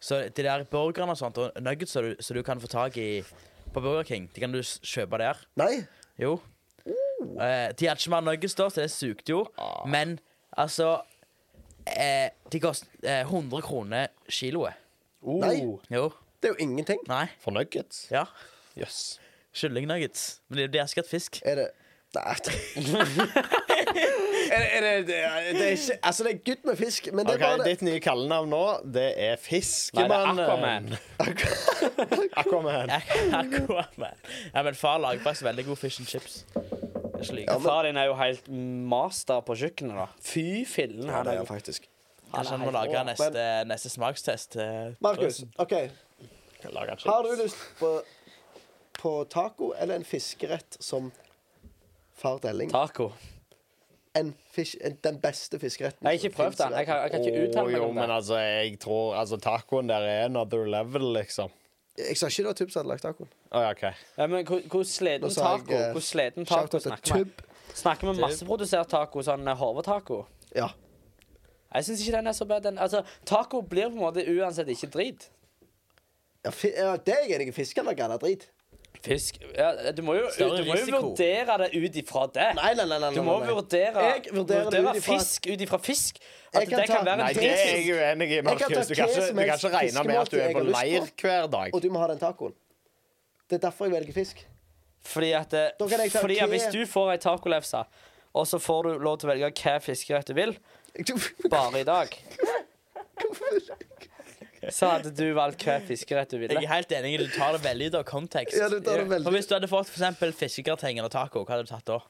Så de der burgerne og sånt, og nuggets som du, som du kan få tak i på Burger King, de kan du s- kjøpe der.
Nei.
Jo. Eh, de hadde ikke mer nuggets da, så det sugde jo. Men altså eh, De koster eh, 100 kroner kiloet.
Oh.
Nei.
Jo.
Det er jo ingenting.
Nei.
For nuggets?
Ja.
Jøss.
Kyllingnuggets. Men det- de har sikkert fisk. [LAUGHS]
Er det Nei. er det, er det, det, er, det er ikke Altså, det er gutt med fisk, men det er
OK,
bare det.
ditt nye kallenavn nå, det er
Nei, det er
Fiskemann. [LAUGHS]
Aquaman.
Aquaman.
Aquaman. ja, men far lager faktisk veldig god fish and chips. Det er ikke like.
Ja, men-
Far din er jo helt master på kjøkkenet, da. Fy fillen.
Ja,
Han
det
er
er
jo
faktisk.
Kanskje han må
helt
lage
rå,
neste, neste smakstest. eh,
Markus,
Brødsen.
OK.
Lager han
Har du
chips.
lyst på, på taco eller en fiskerett som far Delling?
taco.
En fisk, en, den beste fiskeretten.
Jeg har ikke
som
prøvd
finnes i
den. Jeg kan, jeg kan ikke
Å,
uttale meg
jo,
om
men
det.
altså, jeg tror altså, tacoen der er another level, liksom.
Jeg sa ikke det var Tubb som hadde lagd tacoen.
Å ja, OK.
Ja, men hvor hvor sliten
Nå sa jeg,
taco
eh,
Hvor sliten
shout
taco
out til
snakker vi?
Tubb.
Snakker vi masseprodusert taco, sånn eh, hovetaco?
Ja.
Jeg syns ikke den er så bad. Den, altså, taco blir på en måte uansett ikke drit.
Ja, fi, ja, det er jeg enig i. Fisken var galla drit.
Fisk ja, Du må jo,
Større
du må jo
risiko.
vurdere det ut ifra det.
Nei, nei, nei. nei,
Du
nei,
må
nei.
vurdere,
Jeg vurderer det ut ifra-
fisk ut ifra fisk. At
Jeg kan
det
ta-
kan være
Nei,
en
det er
dritfisk.
jeg uenig i,
kan ta
Markus. Du kan
hva
ikke,
som
du kan
helst
ikke regne med at du
fiskemåltid
er
jeg
på
har
leir
lyst
hver dag.
Og du må ha den tacoen. Det er derfor jeg velger fisk.
Fordi at, eh,
Da kan jeg ta
fordi
hva-
at hvis du får ei tacolefse, og så får du lov til å velge hva fiskerett du vil,
[LAUGHS] [LAUGHS] Du-
bare i dag
Hvorfor-
så hadde du valgt hvilken fiskerett du
Jeg
ville.
er helt enig. Du tar det veldig ut av kontekst.
Ja, du tar det
For
veldig
Hvis du hadde fått for eksempel fiskegrateng eller taco, hva hadde du tatt da?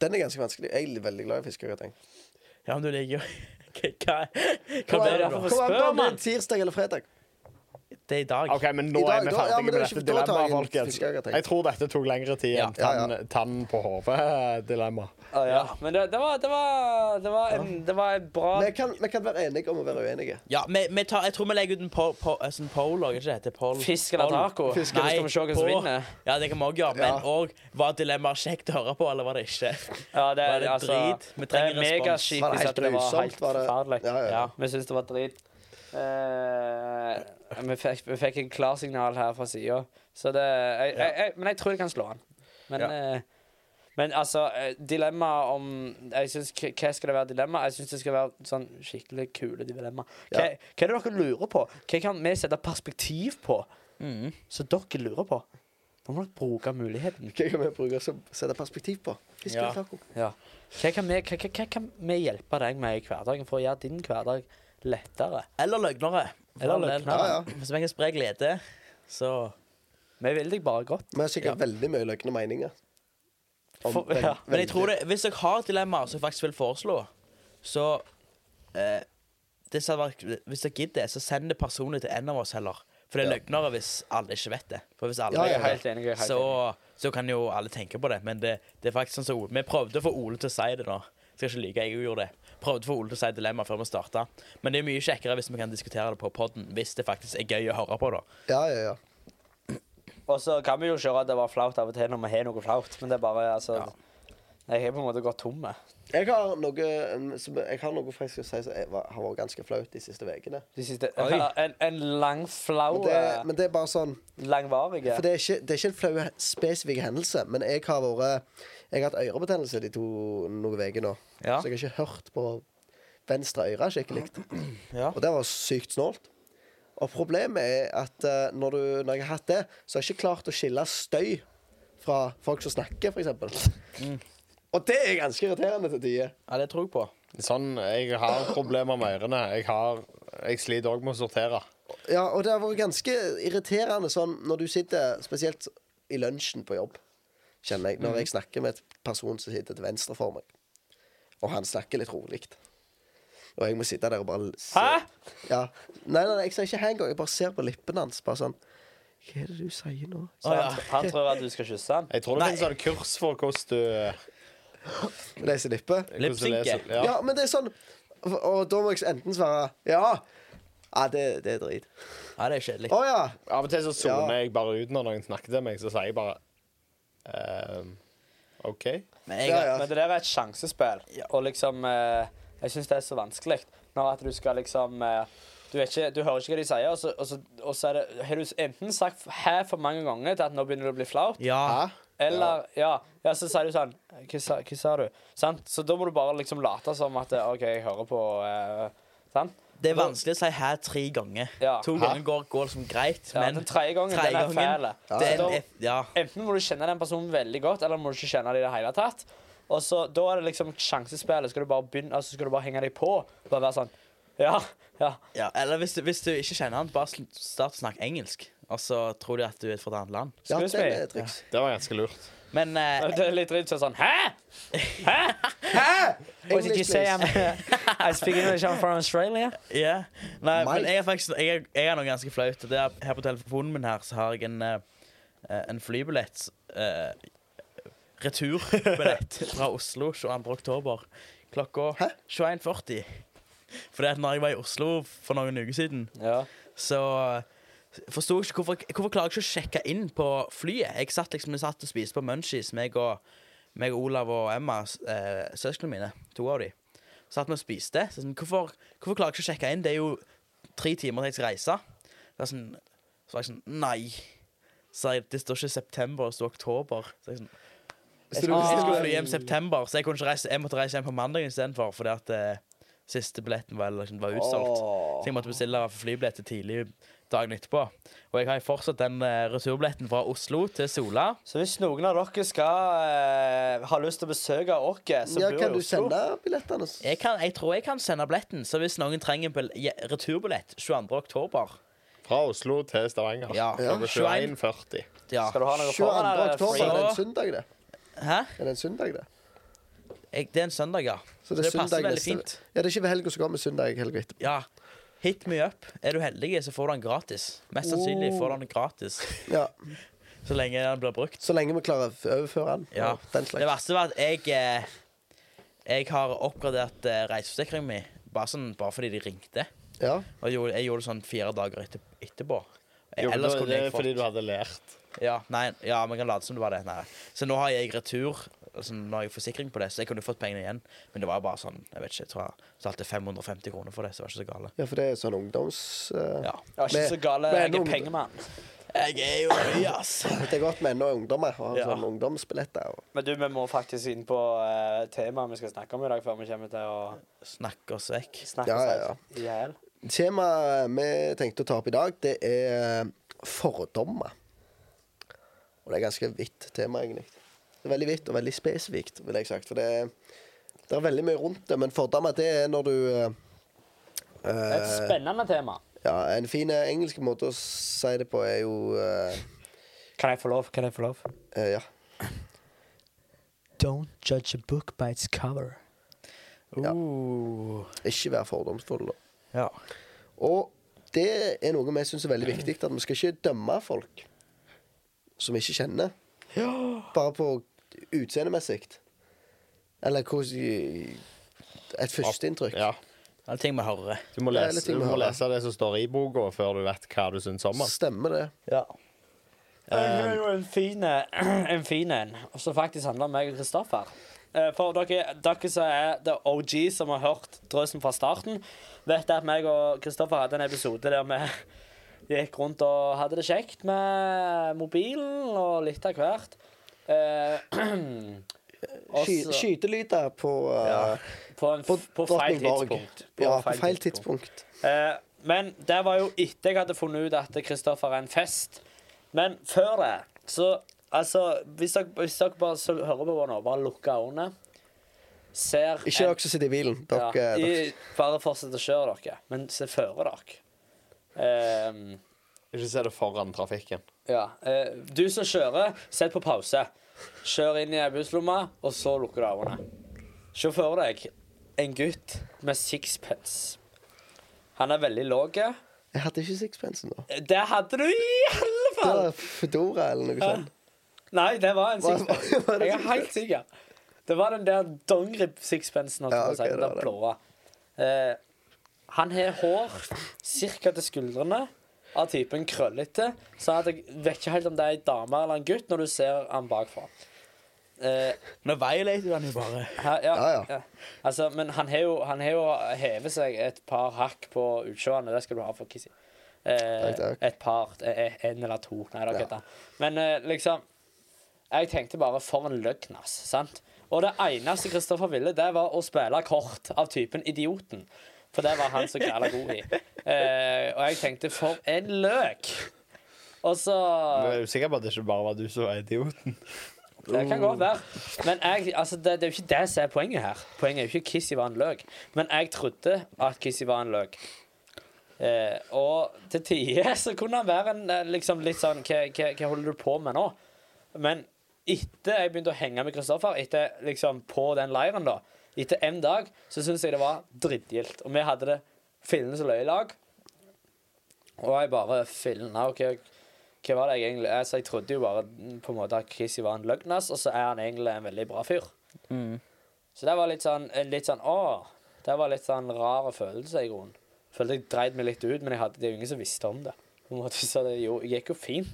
Den er ganske vanskelig. Jeg er veldig glad i fiskegrating.
Ja, men du liker jo [LAUGHS] Hva, hva
Kom
blir det
an
da?
for-
kom an på
Spør,
om det
mann.
er tirsdag eller fredag.
Det er i dag.
OK, men nå
I dag,
er vi
da- ja,
ferdige
men
med
da-
dette
da tar jeg
dilemmaet,
en
folkens.
fiskegrateng.
Jeg tror dette tok lengre tid enn
Ja, ja.
tann, tann på [LAUGHS] hodet-dilemma.
Å, ja. Men det, det, var, det, var, det, var en, det var en bra
Vi kan, vi kan være enige om å være uenige.
Ja, vi, vi tar, jeg tror vi legger ut en po, po, en sånn poll, og ikke det heter poll.
fisk eller
Poll.
taco. Nå
Nei,
skal vi se hvem som
på-
vinner.
Ja, det kan vi òg gjøre, men
Ja.
òg var dilemmaet kjekt å høre på, eller var det ikke?
Ja, det,
Var det
altså,
drit? Vi
det
trenger
er
respons.
megaskitt
Var det
hvis
helt
at det var helt
grusomt? Var det-
forferdelig.
Ja, ja, ja.
Vi syns det var drit. Eh, vi, fikk, vi fikk en klarsignal her fra sida, så det jeg, jeg, jeg, Men jeg tror jeg kan slå han. Men, eh, men altså, eh, dilemmaet om jeg synes, k- Hva skal det være dilemma? Jeg syns det skal være sånn skikkelig kule dilemma. Hva,
Ja.
hva er det dere lurer på? Hva kan vi sette perspektiv på
Mhm.
som dere lurer på? Nå må dere bruke muligheten.
Hva kan vi bruke som sette perspektiv på? Fisk
Ja.
eller taco?
Ja. Hva kan, vi, hva, hva, hva kan vi hjelpe deg med i hverdagen for å gjøre din hverdag lettere?
Eller løgnere. For
Eller
all del.
løgnere.
Ja,
Hvis vi kan spre glede, så
Vi vil deg bare godt.
Vi har sikkert veldig mye løgne meninger. Om
For-
vel-
ja,
Men jeg
veldig-
tror det, hvis dere har dilemmaer som jeg faktisk vil foreslå, så eh, det som hadde vært, Hvis dere gidder, så send det personlig til en av oss heller. For det er løgnere hvis alle ikke vet det. For hvis alle
Ja, jeg er
vet det,
helt enig, jeg er helt
så, så kan jo alle tenke på det. Men det, det er faktisk sånn som Ole Vi prøvde å få Ole til å si det nå. Skal ikke lyve, jeg gjorde det. Prøvde å få Ole til å si dilemmaet før vi starta. Men det er mye kjekkere hvis vi kan diskutere det på poden, hvis det faktisk er gøy å høre på, da.
Ja, ja, ja.
Og så kan vi jo kjøre at det var flaut av og til når vi har noe flaut, men det er bare altså
Ja.
Jeg har på en måte gått tom. jeg,
Jeg har noe, em, som- jeg har noe faktisk å si som jeg var- har vært ganske flaut de siste ukene.
De siste,
Oi.
en, en lang, flau eh,
Men,
eh,
det- men det er bare sånn
Langvarig.
For det er ikke, det er ikke en flau spesifikk hendelse, men jeg har vært Jeg har hatt ørebetennelse de to noen uker nå.
Ja.
Så jeg har ikke hørt på venstre øre skikkelig.
[CLEARS THROAT] Ja.
Og det var sykt snålt. Og problemet er at eh, når, du, når jeg har hatt det, så har jeg ikke klart å skille støy fra folk som snakker, f.eks.
Mm.
Og det er ganske irriterende til tider.
Ja, det tror jeg på.
Sånn, Jeg har problemer med ørene. Jeg, har, jeg sliter òg med å sortere.
Ja, og det har vært ganske irriterende sånn når du sitter spesielt i lunsjen på jobb, kjenner jeg, når jeg snakker med et person som sitter til venstre for meg, og han snakker litt rolig. Og jeg må sitte der og bare se.
Hæ?
Ja. Nei, nei, nei, jeg ser ikke hei engang. Jeg bare ser på lippene hans. Bare sånn Hva er det du sier nå?
Så
Å, ja.
han, han tror at du skal kysse [LAUGHS] han.
Jeg tror det
Nei.
finnes sånn kurs for hvordan du
Lese lippe?
hvordan du
Lipsynke.
leser-
Ja.
Ja.
men det er sånn Og, og da må jeg enten svare ja. Ja, det, det er drit.
Ja, det er kjedelig.
Å ja.
Av og til så soner
Ja.
jeg bare ut når noen snakker til meg, så sier jeg bare ehm, OK.
Men jeg,
Ja, ja.
Men det der er et sjansespill, og liksom eh, Jeg syns det er så vanskelig når at du skal liksom eh, du, vet ikke, du hører ikke hva de sier, og så, og så, og så er det, har du enten sagt hæ for mange ganger til at nå begynner det å bli flaut,
Ja.
eller ja. ja, så sier du sånn Hva sa, hva sa du? Sant? Så da må du bare liksom late som at eh, OK, jeg hører på eh, Sant?
Det er vanskelig å si her tre ganger.
Ja.
To
Hæ?
ganger går, går liksom greit,
Ja,
men
den tredje gangen,
tredje
den er fæl.
det
Så
er
da-
en F, ja.
Enten må du kjenne den personen veldig godt, eller må du ikke kjenne det i det hele tatt. Og så, Da er det liksom sjansespillet. Skal du bare begynne, altså skal du bare henge deg på? Bare være sånn Ja, ja.
ja. Eller hvis, du- hvis du ikke kjenner han, bare sl- start å snakke engelsk. Og så tror de at du er fra et annet land.
ja
Excuse
det
me.
er et triks.
Det var ganske lurt.
Men eh,
Det er litt dritt så er det sånn Hæ?!
[LAUGHS]
What did you say? I'm, I speak English, I'm from Australia.
ja. Nei,
Mike.
men jeg er faktisk jeg er, jeg er noe ganske flaut. og Det er, her på telefonen min her så har jeg en, eh, eh, en flybillett eh, Returbillett
[LAUGHS]
fra Oslo 22. oktober klokka
Hæ?
21.40. Fordi at når jeg var i Oslo for noen uker siden
Ja.
Så eh, forsto jeg ikke hvorfor, hvorfor klarer jeg ikke å sjekke inn på flyet. Jeg satt liksom, Vi satt og spiste på munchies, meg og, meg og Olav og Emma, s- eh, søsknene mine. To av de. Satt vi og spiste. Så sånn, hvorfor, hvorfor klarer jeg ikke å sjekke inn? Det er jo tre timer til jeg skal reise. Så, sånn, så var jeg sånn Nei. Så jeg, det står ikke september, det står oktober. Så jeg, sånn, jeg,
du
skulle- jeg skulle
bestiller-
fly hjem september, så jeg, kunne ikke reise, jeg måtte reise hjem på mandag istedenfor. Fordi at eh, siste billetten var, liksom, var utsolgt. Så jeg måtte bestille flybilletter tidlig dagen etterpå. Og jeg har jo fortsatt den eh, returbilletten fra Oslo til Sola.
Så hvis noen av dere skal eh, ha lyst til å besøke oss som
Ja,
bor i
kan du
Oslo
sende billettene? s-
Jeg, kan, jeg tror jeg kan sende billetten, så hvis noen trenger en bil- je- returbillett 22. oktober
Fra Oslo til Stavanger.
Ja.
Klokka 21.40.
ja.
Skal du ha noe
22.
foran, eller er det
oktober. Er
free?
det en
free?
søndag, det?
Hæ?
Er det en søndag, det?
Jeg, det er en søndag, ja. Så det,
søndag
passer veldig
neste-
fint.
Ja, det er ikke ved helga som kommer, søndag helga etterpå.
Ja. Hit me up. Er du heldig, så får du den gratis. Mest sannsynlig får du den gratis
Ja.
så lenge den blir brukt.
Så lenge vi klarer å overføre den.
Ja.
og Den
Det
slags.
verste var at jeg eh, Jeg har oppgradert eh, reiseforsikringen min bare, sånn, bare fordi de ringte.
Ja.
Og jeg gjorde, jeg gjorde det sånn fire dager etter, etterpå.
Jo, men
Ellers
da-
kunne
det
jeg
er
fått
fordi du hadde lært.
Ja, nei, ja, man kan late som det var det. Nei. Så nå har jeg retur. Altså, nå har jeg forsikring på det, så jeg kunne fått pengene igjen. Men det var bare sånn, jeg vet ikke, jeg tror jeg betalte 550 kroner for det, så det var ikke så gale.
ja, for det er sånn ungdoms... eh,
Ja.
Jeg er ikke så gal.
Men-
Jeg
men-
er pengemann.
Jeg er jo høy, ass.
Det er godt med ennå ungdommer og
Ja.
sånn ungdomsbilletter. Og...
Men du, vi må faktisk inn på eh, temaet vi skal snakke om i dag, før vi kommer til å
Snakker oss vekk.
snakke
Ja,
oss
ja,
helt altså. i hjel.
Temaet vi tenkte å ta opp i dag, det er fordommer. Og det er ganske vidt tema, egentlig. Det er Veldig vidt og veldig spesifikt, vil jeg sagt. For det, det er veldig mye rundt det, men fordommer, det er når du eh,
Et
eh,
spennende tema.
ja, En fin eh, engelsk måte å si det på er jo eh,
Kan jeg få lov? Kan jeg få lov?
eh, Ja.
Don't judge a book by its cover.
Ja.
Uh,
Ikke være fordomsfull. da.
ja.
Og det er noe vi syns er veldig viktig, at vi skal ikke dømme folk som vi ikke kjenner. Bare på utseendemessig. Eller hvordan Et førsteinntrykk.
Ja.
Det er ting vi hører.
Du må,
Det er
lese,
litt ting
du
vi
må
hører.
lese det som står i boka, før du vet hva du syns om den.
Stemmer det.
Ja.
Jeg har jo en fin eh, [CLEARS THROAT] en, fin en som faktisk handler om meg og Kristoffer. Eh, For dere, dere som er the OG som har hørt drøsen fra starten, vet at meg og Kristoffer hadde en episode der vi [LAUGHS] gikk rundt og hadde det kjekt med mobilen og litt av hvert. Eh, [CLEARS THROAT] og
Sky,
så-
skytelyder på, eh,
på, en,
på,
på, feil
Drotningborg.
tidspunkt.
Ja, på feil tidspunkt.
Eh, men det var jo etter jeg hadde funnet ut at Kristoffer er en fest. Men før det, så Altså, hvis dere, hvis dere bare så, hører på nå, bare lukk øynene. Ser
Ikke dere som sitter i bilen. Dere,
ja,
dere.
i, Bare fortsett å kjøre dere, men se føre dere. Ehm,
Ikke se det foran trafikken.
ja. eh, du som kjører, sett på pause. Kjør inn i busslomma, og så lukker du øynene. Se for deg en gutt med sixpence. Han er veldig lav.
Jeg hadde ikke sixpensen da.
Det hadde du i alle
Det
fall!
var Fedora eller noe sånt.
Nei, det var en
Hva-
sixpence.
[LAUGHS] hva- hva er det
Jeg er
sixpence?
helt sikker. Det var den der dongerib-sixpensen.
Ja,
Ja,
ok,
den
det var
der
det.
blåa. Eh, han har hår ca. til skuldrene, av typen krøllete. Så at jeg vet ikke helt om det er ei dame eller en gutt når du ser han bakfra. Eh,
Nå violater du den jo bare.
her, ja,
Ja, ja.
ja. Altså, men han har jo, han har jo hevet seg et par hakk på utsjående. Det skal du ha for Kissy. Eh,
Takk, takk.
et par, eh, en eller to. Nei, det
Ja.
er ikke det. Men eh, liksom Jeg tenkte bare for en løgn, ass. Sant? Og det eneste Kristoffer ville, det var å spille kort av typen Idioten. For det var han så jævla god i. Eh, og jeg tenkte for en løk! Og så
Du er usikker på at det ikke bare var du som var idioten.
det kan godt være. Men jeg, altså, det, det er jo ikke det som er poenget her. Poenget er jo ikke Kissy var en løk. Men jeg trodde at Kissy var en løk. Eh, og til tider så kunne han være en eh, liksom litt sånn hva, hva, hva holder du på med nå? Men etter jeg begynte å henge med Kristoffer, etter liksom på den leiren, da, etter en dag, så syntes jeg det var drittgildt. Og vi hadde det fillende som løye i lag. Og jeg bare fillende, ok, hva var det jeg egentlig altså, Jeg trodde jo bare mm, på en måte at Chrissy var en løgnas, og så er han egentlig en veldig bra fyr.
Mm.
Så det var litt sånn, en litt sånn Å! Det var litt sånn rar følelse, i grunnen. Følte jeg dreit meg litt ut, men jeg hadde, det er jo ingen som visste om det. På en måte, [LAUGHS] så det jo, gikk jo fint.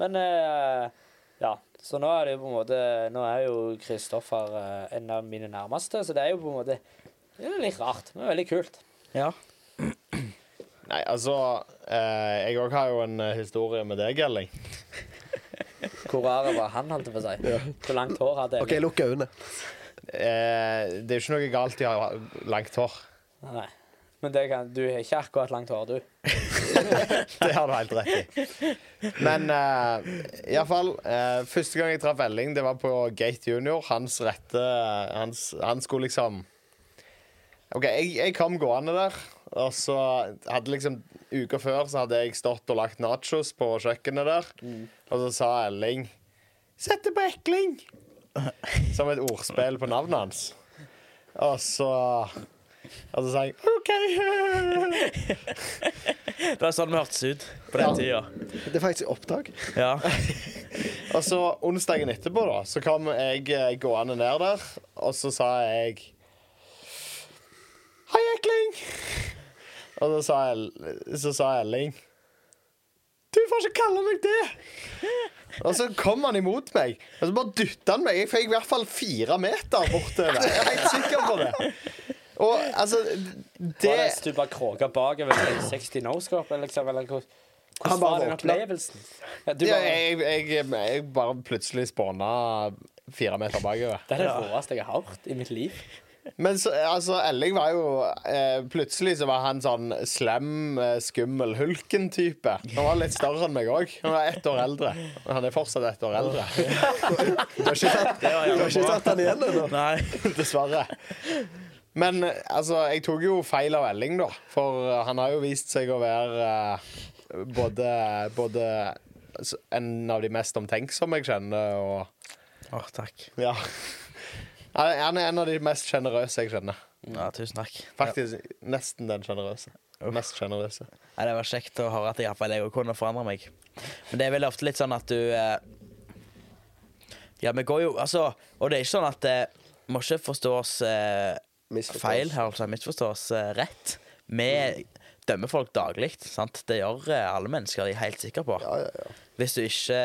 Men eh, ja. Så nå er det jo på en måte Nå er jo Kristoffer eh, en av mine nærmeste, så det er jo på en måte det er litt rart, men veldig kult.
Ja.
Nei, altså eh, Jeg òg har jo en eh, historie med deg, Elling.
Hvor rar var han, holdt jeg på å si. Hvor langt hår hadde
OK, lukk øynene.
Eh, det er jo ikke noe galt i å ha langt hår.
Nei. Men det kan, du har ikke akkurat langt hår, du.
[LAUGHS] Det har du helt rett i. Men uh, iallfall uh, Første gang jeg traff Elling, det var på Gate Junior. Hans rette eh, hans, Han skulle liksom OK, jeg, jeg kom gående der, og så hadde liksom Uka før så hadde jeg stått og lagt nachos på kjøkkenet der, og så sa Elling 'Sett det på Ekling!' Som et ordspill på navnet hans. Og så Og så sa jeg OK.
Det var sånn vi hørtes ut på den
Ja.
tida.
Det er faktisk opptak.
Ja.
Og så onsdagen etterpå da Så kom jeg eh, gående ned der Og så sa jeg Hei Ekling Og så sa, El- så sa Elling Du får ikke kalle meg det Og så kom han imot meg Og så bare dyttet han meg Jeg fikk i hvert fall fire meter bortover Jeg er helt sikker på det Og altså
Det...
det,
Var det en stupa kråke bakover en 60 no-scope, liksom? Eller hvordan
Han
hvordan
bare
var den
våkna.
opplevelsen? Ja, du
ja,
bare,
jeg, jeg, jeg bare plutselig spånet fire meter bakover
Det er det råeste jeg har hørt i mitt liv.
Men så, altså, Elling var jo eh, Plutselig så var han sånn slem, eh, skummel Hulken-type. Han var litt større enn meg òg. Han var ett år eldre. Og Han er fortsatt ett år eldre. [LAUGHS]
Du har ikke tatt,
Det var
du har ikke
jævlig bra.
tatt den igjen ennå.
Nei.
Dessverre. Men eh, altså, jeg tok jo feil av Elling, da. For eh, han har jo vist seg å være eh, både, både s- en av de mest omtenksomme jeg kjenner, og
Åh, takk.
Ja. Han er- han er en av de mest sjenerøse jeg kjenner.
Ja, tusen takk.
Faktisk nesten den sjenerøse. Mest sjenerøse.
Ja, det var kjekt å høre at jeg, i hvert fall jeg også kunne forandre meg. Men det er vel ofte litt sånn at du eh, Ja, vi går jo Altså, og det er ikke sånn at eh, må ikke forstås eh,
Misforstås.
feil her, altså. Misforstås eh, rett. Vi dømmer folk daglig, sant. Det gjør eh, alle mennesker, de er helt sikre på.
Ja, ja, ja.
Hvis du ikke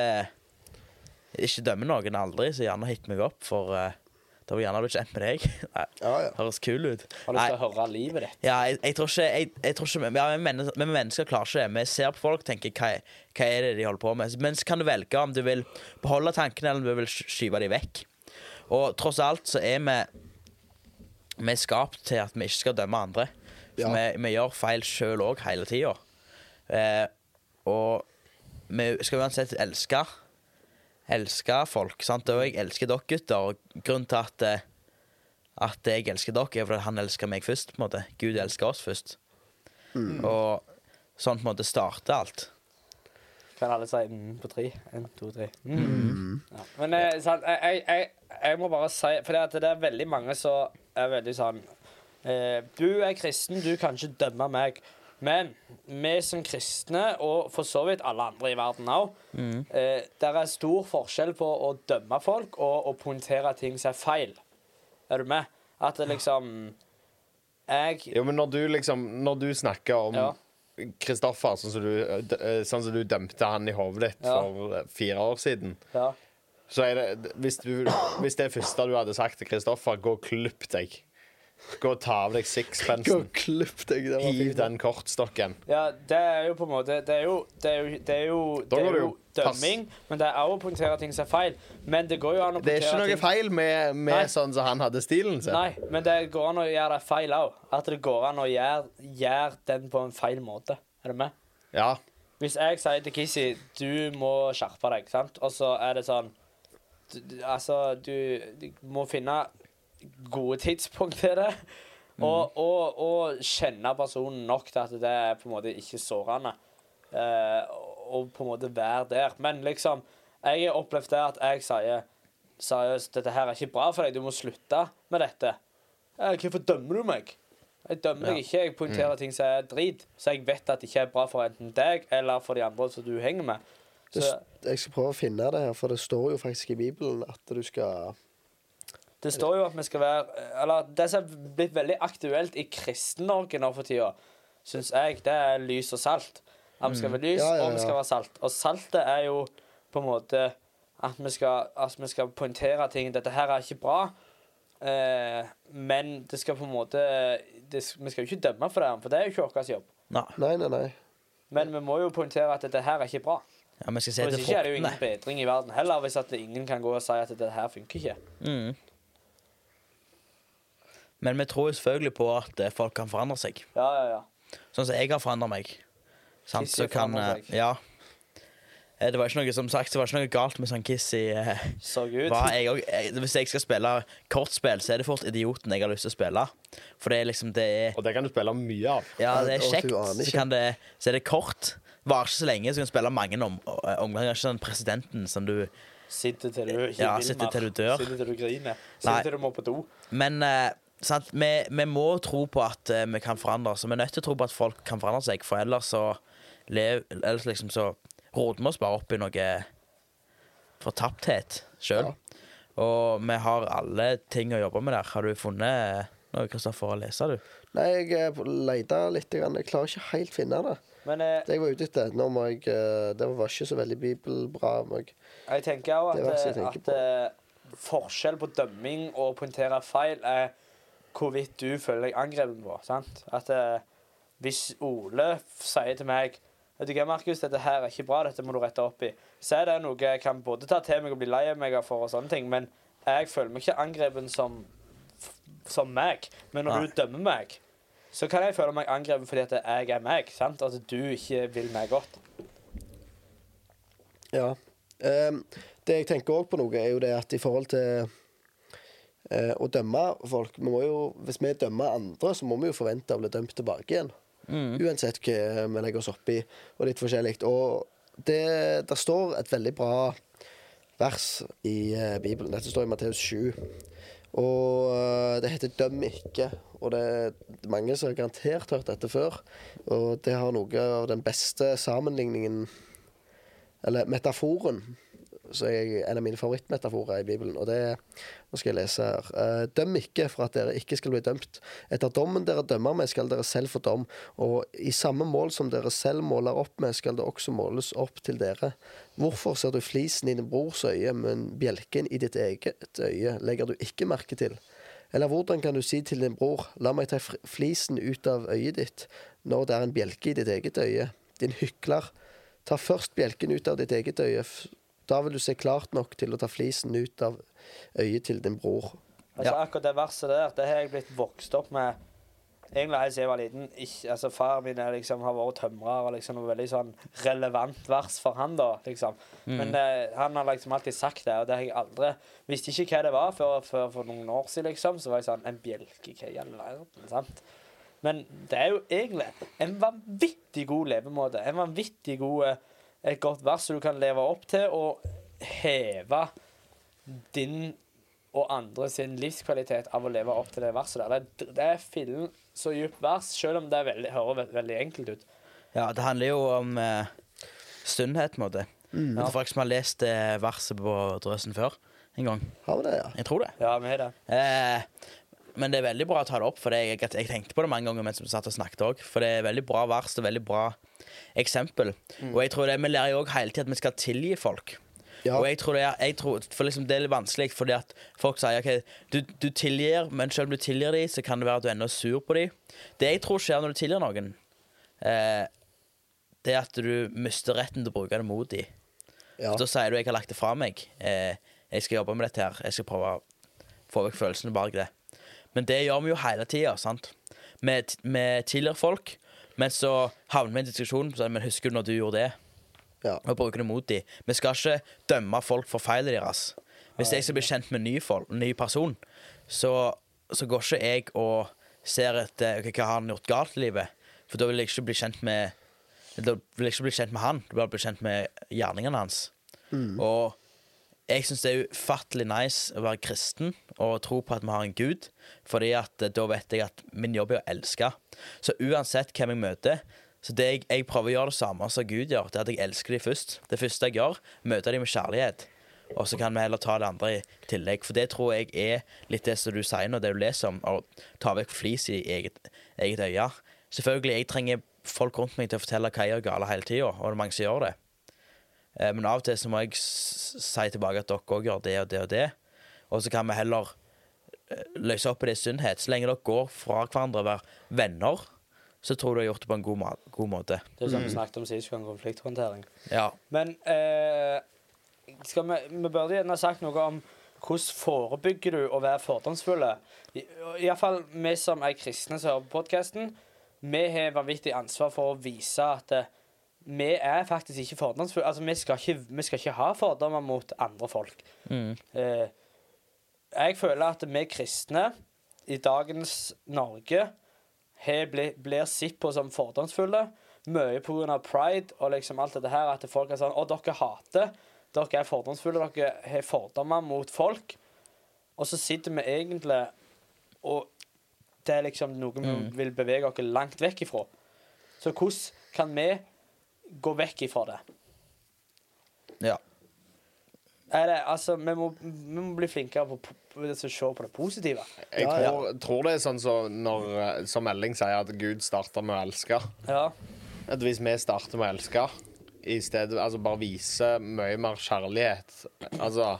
ikke dømmer noen aldri, så gjerne hit meg opp, for eh, da vil jeg gjerne bli kjent med deg. [LAUGHS] Nei,
Ja, ja.
Høres kul ut.
Har du lyst til å høre livet ditt?
Ja, jeg, jeg tror ikke, jeg, jeg tror ikke ja, vi, mennesker, vi mennesker klarer ikke det. Vi ser på folk og tenker hva, hva er det de holder på med. Men så kan du velge om du vil beholde tankene eller om du vil sky- skyve dem vekk. Og tross alt så er vi Vi er skapt til at vi ikke skal dømme andre. For
Ja.
vi, vi gjør feil sjøl òg hele tida. Eh, og vi skal uansett elske Elske folk. sant? Og jeg elsker dere gutter. Og grunnen til at eh, at jeg elsker dere, er fordi han elsker meg først. på en måte. Gud elsker oss først. Og sånn på en måte starter alt.
Kan alle si mm på tre? En, to, tre. Mm. Ja. Men eh, sant, jeg, jeg, jeg, jeg må bare si For det, at det er veldig mange som er veldig sånn eh, Du er kristen, du kan ikke dømme meg. Men vi som kristne, og for så vidt alle andre i verden òg, eh, det er stor forskjell på å dømme folk og å poengtere ting som er feil. Er du med? At det liksom Jeg
Jo, men når du liksom Når du snakker
Ja.
om Kristoffer, sånn, som du, eh, d- eh, sånn som du dømte han i hodet ditt
Ja.
for eh, fire år siden
Ja.
Så er det d- Hvis, du, hvis det første du hadde sagt til Kristoffer, gå og klipp deg. Gå og ta av deg
Gå og
sixpensen.
klipp deg. Det var
Hiv
fint.
den kortstokken.
Ja, det er jo på en måte Det er jo, det er jo, det er jo,
Da
det
går
er
det
jo
jo pass.
dømming, men det er også å poengtere ting som er feil. Men det går jo an å
Det er ikke
poengtere
noe
ting-
feil med,
Nei.
med sånn som han hadde stilen sin.
Nei, men det går an å gjøre det feil òg. At det går an å gjøre, gjøre den på en feil måte. Er du med?
Ja.
Hvis jeg sier til Kissy du må skjerpe deg, sant? og så er det sånn du, du- Altså, du, du må finne gode tidspunkt til det. Og, og, og kjenne personen nok til at det er på en måte ikke sårende. Eh, og på en måte være der. Men liksom, jeg har opplevd det at jeg sier seriøst, dette her er ikke bra for deg, du må slutte med dette. Eh, Hvorfor dømmer du meg? Jeg dømmer deg ikke, jeg poengterer ting som er drit, så jeg vet at det ikke er bra for enten deg eller for de andre som du henger med.
Det,
Så
jeg skal prøve å finne det her, for det står jo faktisk i Bibelen at du skal
det står jo at vi skal være eh, Eller det som er blitt veldig aktuelt i Kristen-Norge nå for tida, syns jeg, det er lys og salt. At vi skal være lys,
Ja, ja,
og vi
ja.
skal være salt. Og saltet er jo på en måte at vi skal, at vi skal poengtere ting. Dette her er ikke bra. Eh, men det skal på en måte det, Vi skal jo ikke dømme for det, for det er jo ikke vår jobb.
Nei.
Nei, nei, nei.
Men vi må jo poengtere at dette her er ikke bra.
Ja, vi skal se
Og
til
Hvis ikke er det jo ingen
fruktene.
bedring i verden heller, hvis at ingen kan gå og si at dette her funker ikke.
Mm. Men vi tror jo selvfølgelig på at eh, folk kan forandre seg.
Ja, ja, ja.
Sånn som jeg har forandret meg. Sant?
Kiss har
Så kan,
forandret
eh,
seg.
ja. Eh, Det var ikke noe som sagt, det var ikke noe galt med sånn kiss i eh,
Så ut.
hva jeg, og- jeg, Hvis jeg skal spille kortspill, så er det fort idioten jeg har lyst til å spille. For det er liksom det er,
Og det kan du spille mye av.
ja,
Ja,
det er
og
kjekt,
du aner
så,
ikke.
kan det, så er det kort. Varer ikke så lenge, så kan du spille mange om, omganger. Ikke sånn presidenten som du
Sitter til du ikke
Ja,
vil
sitter
mer.
til du dør.
Sitter til du griner. Sitter
Nei.
til du må på do.
Men eh, sant? Vi, vi må tro på at eh, vi kan forandre oss. og Vi er nødt til å tro på at folk kan forandre seg, for ellers så lev, Ellers liksom så roter vi oss bare opp i noe fortapthet sjøl. Og vi har alle ting å jobbe med der. Har du funnet eh, noe, Kristoffer, å lese, du?
Nei, jeg eh, leita litt. Grann. Jeg klarer ikke helt finne det.
Men eh,
Det jeg var ute etter. Nå må jeg, eh, det var ikke så veldig bibelbra. Må jeg.
jeg tenker òg
Det
at,
er verst jeg
eh,
tenker
at eh, forskjell på dømming og poengtere feil er hvorvidt du føler deg angrepet på. sant? At eh, hvis Ole f- sier til meg Vet du hva, Markus, dette her er ikke bra, dette må du rette opp i. Så er det noe jeg kan både ta til meg og bli lei meg for, og sånne ting, men jeg føler meg ikke angrepet som, f- som meg. Men når
Nei.
du dømmer meg, så kan jeg føle meg angrepet fordi at jeg er meg. sant? At du ikke vil meg godt.
Ja. Ehm, det jeg tenker òg på noe, er jo det at i forhold til eh, å dømme folk vi må jo, Hvis vi dømmer andre, så må vi jo forvente å bli dømt tilbake igjen. Uansett hva vi legger oss oppi, og litt forskjellig. Og det der står et veldig bra vers i eh, Bibelen. Dette står i Matteus 7. Og eh, det heter 'døm ikke'. Og det er mange som har garantert hørt dette før. Og det har noe av den beste sammenligningen eller metaforen så er jeg, en av mine favorittmetaforer i Bibelen. Og det er Nå skal jeg lese her. Eh, døm ikke for at dere ikke skal bli dømt. Etter dommen dere dømmer med, skal dere selv få dom. Og i samme mål som dere selv måler opp med, skal det også måles opp til dere. Hvorfor ser du flisen i din brors øye, men bjelken i ditt eget øye legger du ikke merke til? Eller hvordan kan du si til din bror, la meg ta fr- flisen ut av øyet ditt, når det er en bjelke i ditt eget øye? Din hykler, ta først bjelken ut av ditt eget øye, f- da vil du se klart nok til å ta flisen ut av øyet til din bror.
Altså
Ja.
Akkurat det verset der det har jeg blitt vokst opp med egentlig helt siden jeg var liten. Ikke, altså Faren min er liksom, har vært tømrer og liksom noe veldig sånn relevant vers for han da, liksom. Men eh, han har liksom alltid sagt det, og det har jeg aldri Visste ikke hva det var før, før for noen år siden, liksom. Så var jeg sånn En bjelke, hva i all verden? sant? Men det er jo egentlig en vanvittig god levemåte. En vanvittig god eh, Et godt vers som du kan leve opp til og heve din og andre sin livskvalitet av å leve opp til det verset der. Det er, det er fillen så dypt vers, selv om det er veldig, hører ve- veldig enkelt ut.
Ja, det handler jo om eh, stundhet, på en måte. Mm. Folk som har lest eh, verset på Drøsen før en gang.
Har vi det, ja?
Jeg tror det.
Ja, vi har det.
Eh, men det er veldig bra å ta det opp, for det, jeg, jeg tenkte på det mange ganger mens vi satt og snakket òg. For det er veldig bra vers og veldig bra eksempel.
Mm.
Og jeg tror det, vi lærer jo òg hele tida at vi skal tilgi folk.
Ja,
Og jeg tror det er, jeg tror, for liksom det er litt vanskelig, fordi at folk sier ok, du, du tilgir, men selv om du tilgir dem, så kan det være at du er enda sur på dem. Det jeg tror skjer når du tilgir noen, eh, det er at du mister retten til å bruke det mot dem.
ja.
Da sier du 'jeg har lagt det fra meg'. Eh, 'Jeg skal jobbe med dette her. Jeg skal prøve å få vekk følelsene bak det'. Men det gjør vi jo hele tida, sant. Vi t- vi tilgir folk, men så havner vi i en diskusjon. Så, men husker du når du gjorde det?
ja.
Og bruker det mot dem. Vi skal ikke dømme folk for feilene deres. Hvis jeg skal bli kjent med en ny, folk, ny person, så, så går ikke jeg og ser etter okay, hva har han gjort galt i livet. For da vil jeg ikke bli kjent med Da vil jeg ikke bli kjent med han, da vil jeg bli kjent med gjerningene hans. Og jeg syns det er ufattelig nice å være kristen og tro på at vi har en gud, fordi at eh, da vet jeg at min jobb er å elske. Så uansett hvem jeg møter så det jeg, jeg prøver å gjøre det samme som Gud gjør, det er at jeg elsker dem først. Det første jeg gjør, møter dem med kjærlighet. Og så kan vi heller ta det andre i tillegg. For det tror jeg er litt det som du sier nå, det du leser om, å ta vekk flis i eget, eget øye. Selvfølgelig, jeg trenger folk rundt meg til å fortelle hva jeg gjør gale hele tida, og det er mange som gjør det. Eh, Men av og til så må jeg s- si tilbake at dere òg gjør det og det og det. Og så kan vi heller eh, løse opp i det i sunnhet. Så lenge dere går fra hverandre og er venner, så tror jeg du har gjort det på en god, ma god måte.
Det er sånn vi snakket om sist gang, konflikthåndtering.
Ja.
Men eh, skal vi, vi burde gjerne ha sagt noe om hvordan forebygger du å være fordomsfulle? Iallfall vi som er kristne som hører på podkasten, vi har vanvittig ansvar for å vise at eh, vi er faktisk ikke fordomsfulle. Altså, vi skal ikke, vi skal ikke ha fordommer mot andre folk.
Mm.
Eh, jeg føler at vi kristne i dagens Norge har bli, blir sett på som fordomsfulle. Mye pga. pride og liksom alt dette her. At folk er sånn Å, dere hater. Dere er fordomsfulle. Dere har fordommer mot folk. Og så sitter vi egentlig og Det er liksom noe vi
Mm.
vil bevege oss langt vekk ifra. Så hvordan kan vi gå vekk ifra det?
Ja.
Er det, altså, vi må, vi må bli flinkere på, på, på å se på det positive.
Jeg
Ja, ja.
tror, tror det er sånn som når, eh, som Elling sier, at Gud starter med å elske.
Ja.
At hvis vi starter med å elske, i stedet altså bare vise mye mer kjærlighet Altså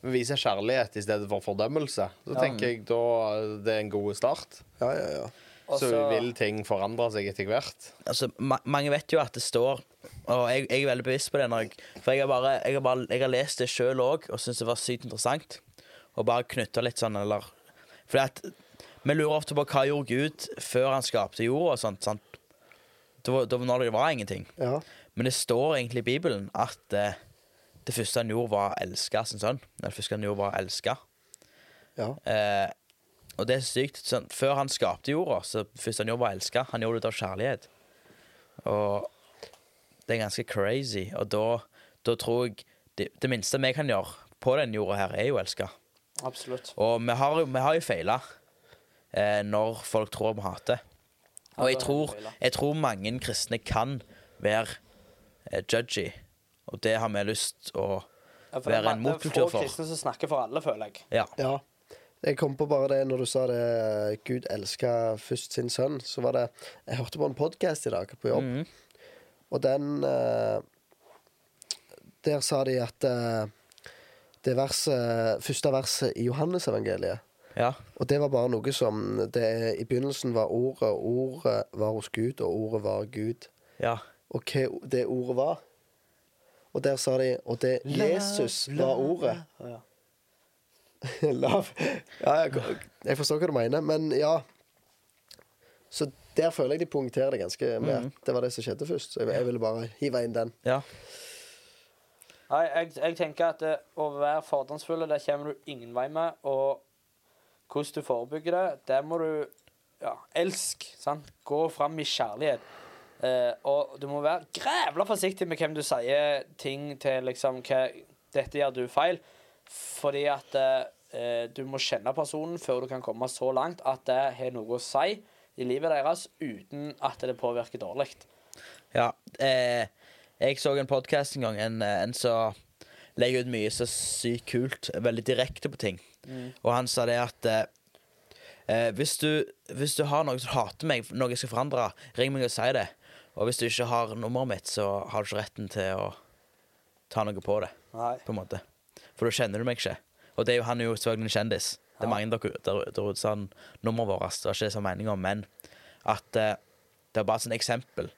vi viser kjærlighet i stedet for fordømmelse, så tenker jeg da eh, det er en god start.
Ja, ja, ja.
Og
så
så-
vil ting forandre seg etter hvert.
altså, ma mange vet jo at det står Og jeg, jeg er veldig bevisst på det når jeg, For jeg har, bare, jeg, har bare, jeg har lest det sjøl òg og syntes det var sykt interessant. Og bare knytta litt sånn, eller Fordi at vi lurer ofte på hva gjorde Gud før han skapte jorda og sånt. sant? Da, var- da, var- når det var ingenting.
ja.
Men det står egentlig i Bibelen at eh, det første han gjorde, var å elske sin sønn. Det første han gjorde, var å elske.
ja.
Eh, og det er sykt. Sånn, før han skapte jorda, så først han gjorde var å elske. Han gjorde det av kjærlighet. Og det er ganske crazy. Og da, da tror jeg det, det minste vi kan gjøre på den jorda her, er jo å elske.
Absolutt.
Og vi har, jo- vi har jo feila eh, når folk tror vi hater. Og jeg tror, jeg tror mange kristne kan være eh, judgy. Og det har vi lyst å være en motkultur
for. Det er
for.
få kristne som snakker for alle, føler jeg.
Ja.
Ja. Jeg kom på bare det når du sa det Gud elska først sin sønn. Så var det Jeg hørte på en podkast i dag på jobb,
Mhm.
og den eh, Der sa de at eh, det verset, første verset i Johannesevangeliet
ja.
Og det var bare noe som det, I begynnelsen var ordet, og ordet var hos Gud, og ordet var Gud.
Ja.
Og hva det ordet var. Og der sa de Og det Jesus var ordet.
Ja.
[LAUGHS] Lav. Ja, jeg, jeg forstår hva du mener, men ja. Så der føler jeg de poengterer det ganske med at det var det som skjedde først. Så jeg, jeg ville bare hive inn den.
ja.
Nei, jeg, jeg tenker at eh, å være fordomsfull, det kommer du ingen vei med. Og hvordan du forebygger det, der må du ja, elsk. Sant? Gå fram i kjærlighet. Eh, og du må være grævla forsiktig med hvem du sier ting til, liksom hva, 'Dette gjør du feil', fordi at eh, du må kjenne personen før du kan komme så langt at det har noe å si i livet deres uten at det påvirker dårlig.
Ja. Eh, jeg så en podkast en gang, en, eh, en som legger ut mye så sykt kult, veldig direkte på ting. Og han sa det at eh, eh, hvis, du, hvis du har noe som hater meg, noe jeg skal forandre, ring meg og si det. Og hvis du ikke har nummeret mitt, så har du ikke retten til å ta noe på det.
Nei.
på en måte. For da kjenner du meg ikke. Og det er jo, han er jo selvfølgelig en kjendis.
Ja.
Det er mange der, der, der ute som har nummeret vårt. Det var ikke det som var meningen, men at eh, det er bare et sånt eksempel.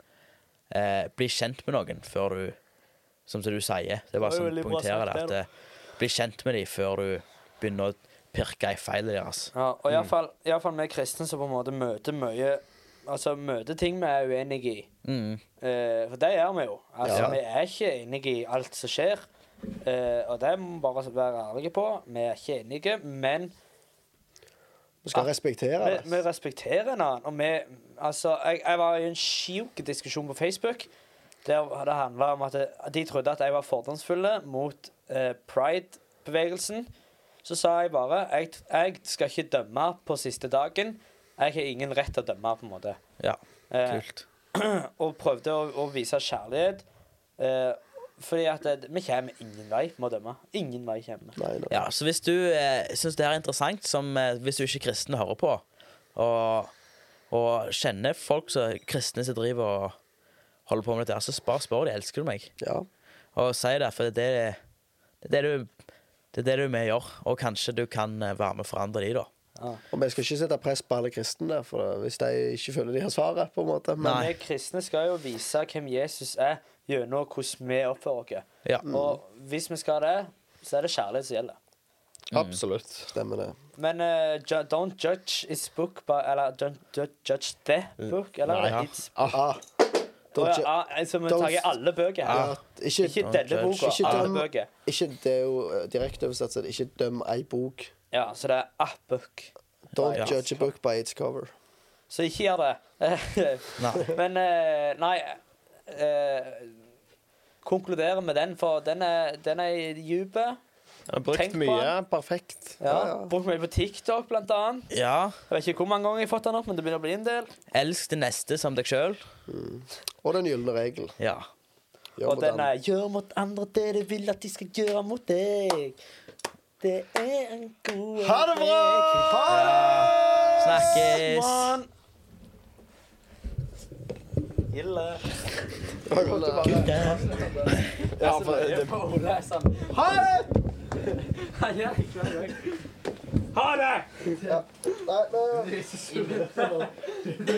Eh, bli kjent med noen før du Som du sier. Det
Det
er bare
var jo
sånn
veldig bra
poengterer det.
sagt,
At,
det,
eh, bli kjent med dem før du begynner å pirke i feilene deres.
Ja, og iallfall fall vi kristne som på en måte møter mye Altså møter ting vi er uenige i.
Mm.
Eh, for det gjør vi jo. Altså,
Ja.
Vi er ikke enige i alt som skjer. Eh, og det må vi bare være ærlige på. Vi er ikke enige, men
Du skal
Ja.
respektere
vi, vi
det.
respekterer en annen. Og vi, altså, jeg, jeg var i en sjuk diskusjon på Facebook. Der det handla om at de trodde at jeg var fordomsfulle mot eh, pride-bevegelsen. Så sa jeg bare jeg, jeg skal ikke dømme på siste dagen. Jeg har ingen rett til å dømme, på en måte.
Ja,
Eh,
kult.
og prøvde å, å vise kjærlighet. Eh, fordi at det, vi kommer ingen vei med å dømme. Ingen vei kommer vi.
Nei, nei.
Ja, så hvis du eh, syns det her er interessant, som eh, hvis du ikke er kristen hører på, og, og kjenner folk som er kristne som driver og holder på med dette, her, så bare spør de, elsker du meg?
Ja.
Og si det, for det er det, det, er det, du, det er det du er med og gjør. Og kanskje du kan eh, være med og forandre de, da.
Ja.
Og vi skal ikke sette press på alle kristne der, for hvis de ikke føler de har svaret, på en måte. Men
Nei.
Vi kristne skal jo vise hvem Jesus er gjennom hvordan vi oppfører oss.
Ja.
Mm.
Og hvis vi skal det, så er det kjærlighet som gjelder.
Absolutt.
Stemmer det.
Men eh, ju, don't judge is book by Eller don't ju- judge the book, eller?
Nei, ja.
It's,
Ah,
Å,
don't,
ja, ah, altså, vi
don't-
tar i alle bøker her.
ja,
Ikke
ikke, ikke,
denne
judge.
boka,
Ikke
alle
døm.
bøker.
Det er jo eh, direkte oversatt, så det er ikke døm ei bok.
Ja, så det er a book.
Don't
Ja.
judge a book by its cover.
Så ikke gjør det.
Nei.
[LAUGHS] Men eh, nei eh, Konkluderer med den, for den er, den er dyp.
Jeg har
Tenk
brukt
på
mye. Perfekt.
Ja.
ja.
Brukt mye på TikTok, blant annet.
Ja.
Jeg vet ikke hvor mange ganger jeg har fått den opp, men det begynner å bli en del.
Elsk det neste som deg sjøl.
Og den gylne regel.
Ja.
Gjør
Og den
moderne.
er 'Gjør mot andre det du vil at de skal gjøre mot deg'. Det er en god
Ha det bra!
Snakkes.
Ille.
Det var godt å bare-
Ja, for det på Ole er sånn
Ha det!
[LAUGHS] «Hei, jeg er klar, jeg». Ha det!
Nei, men...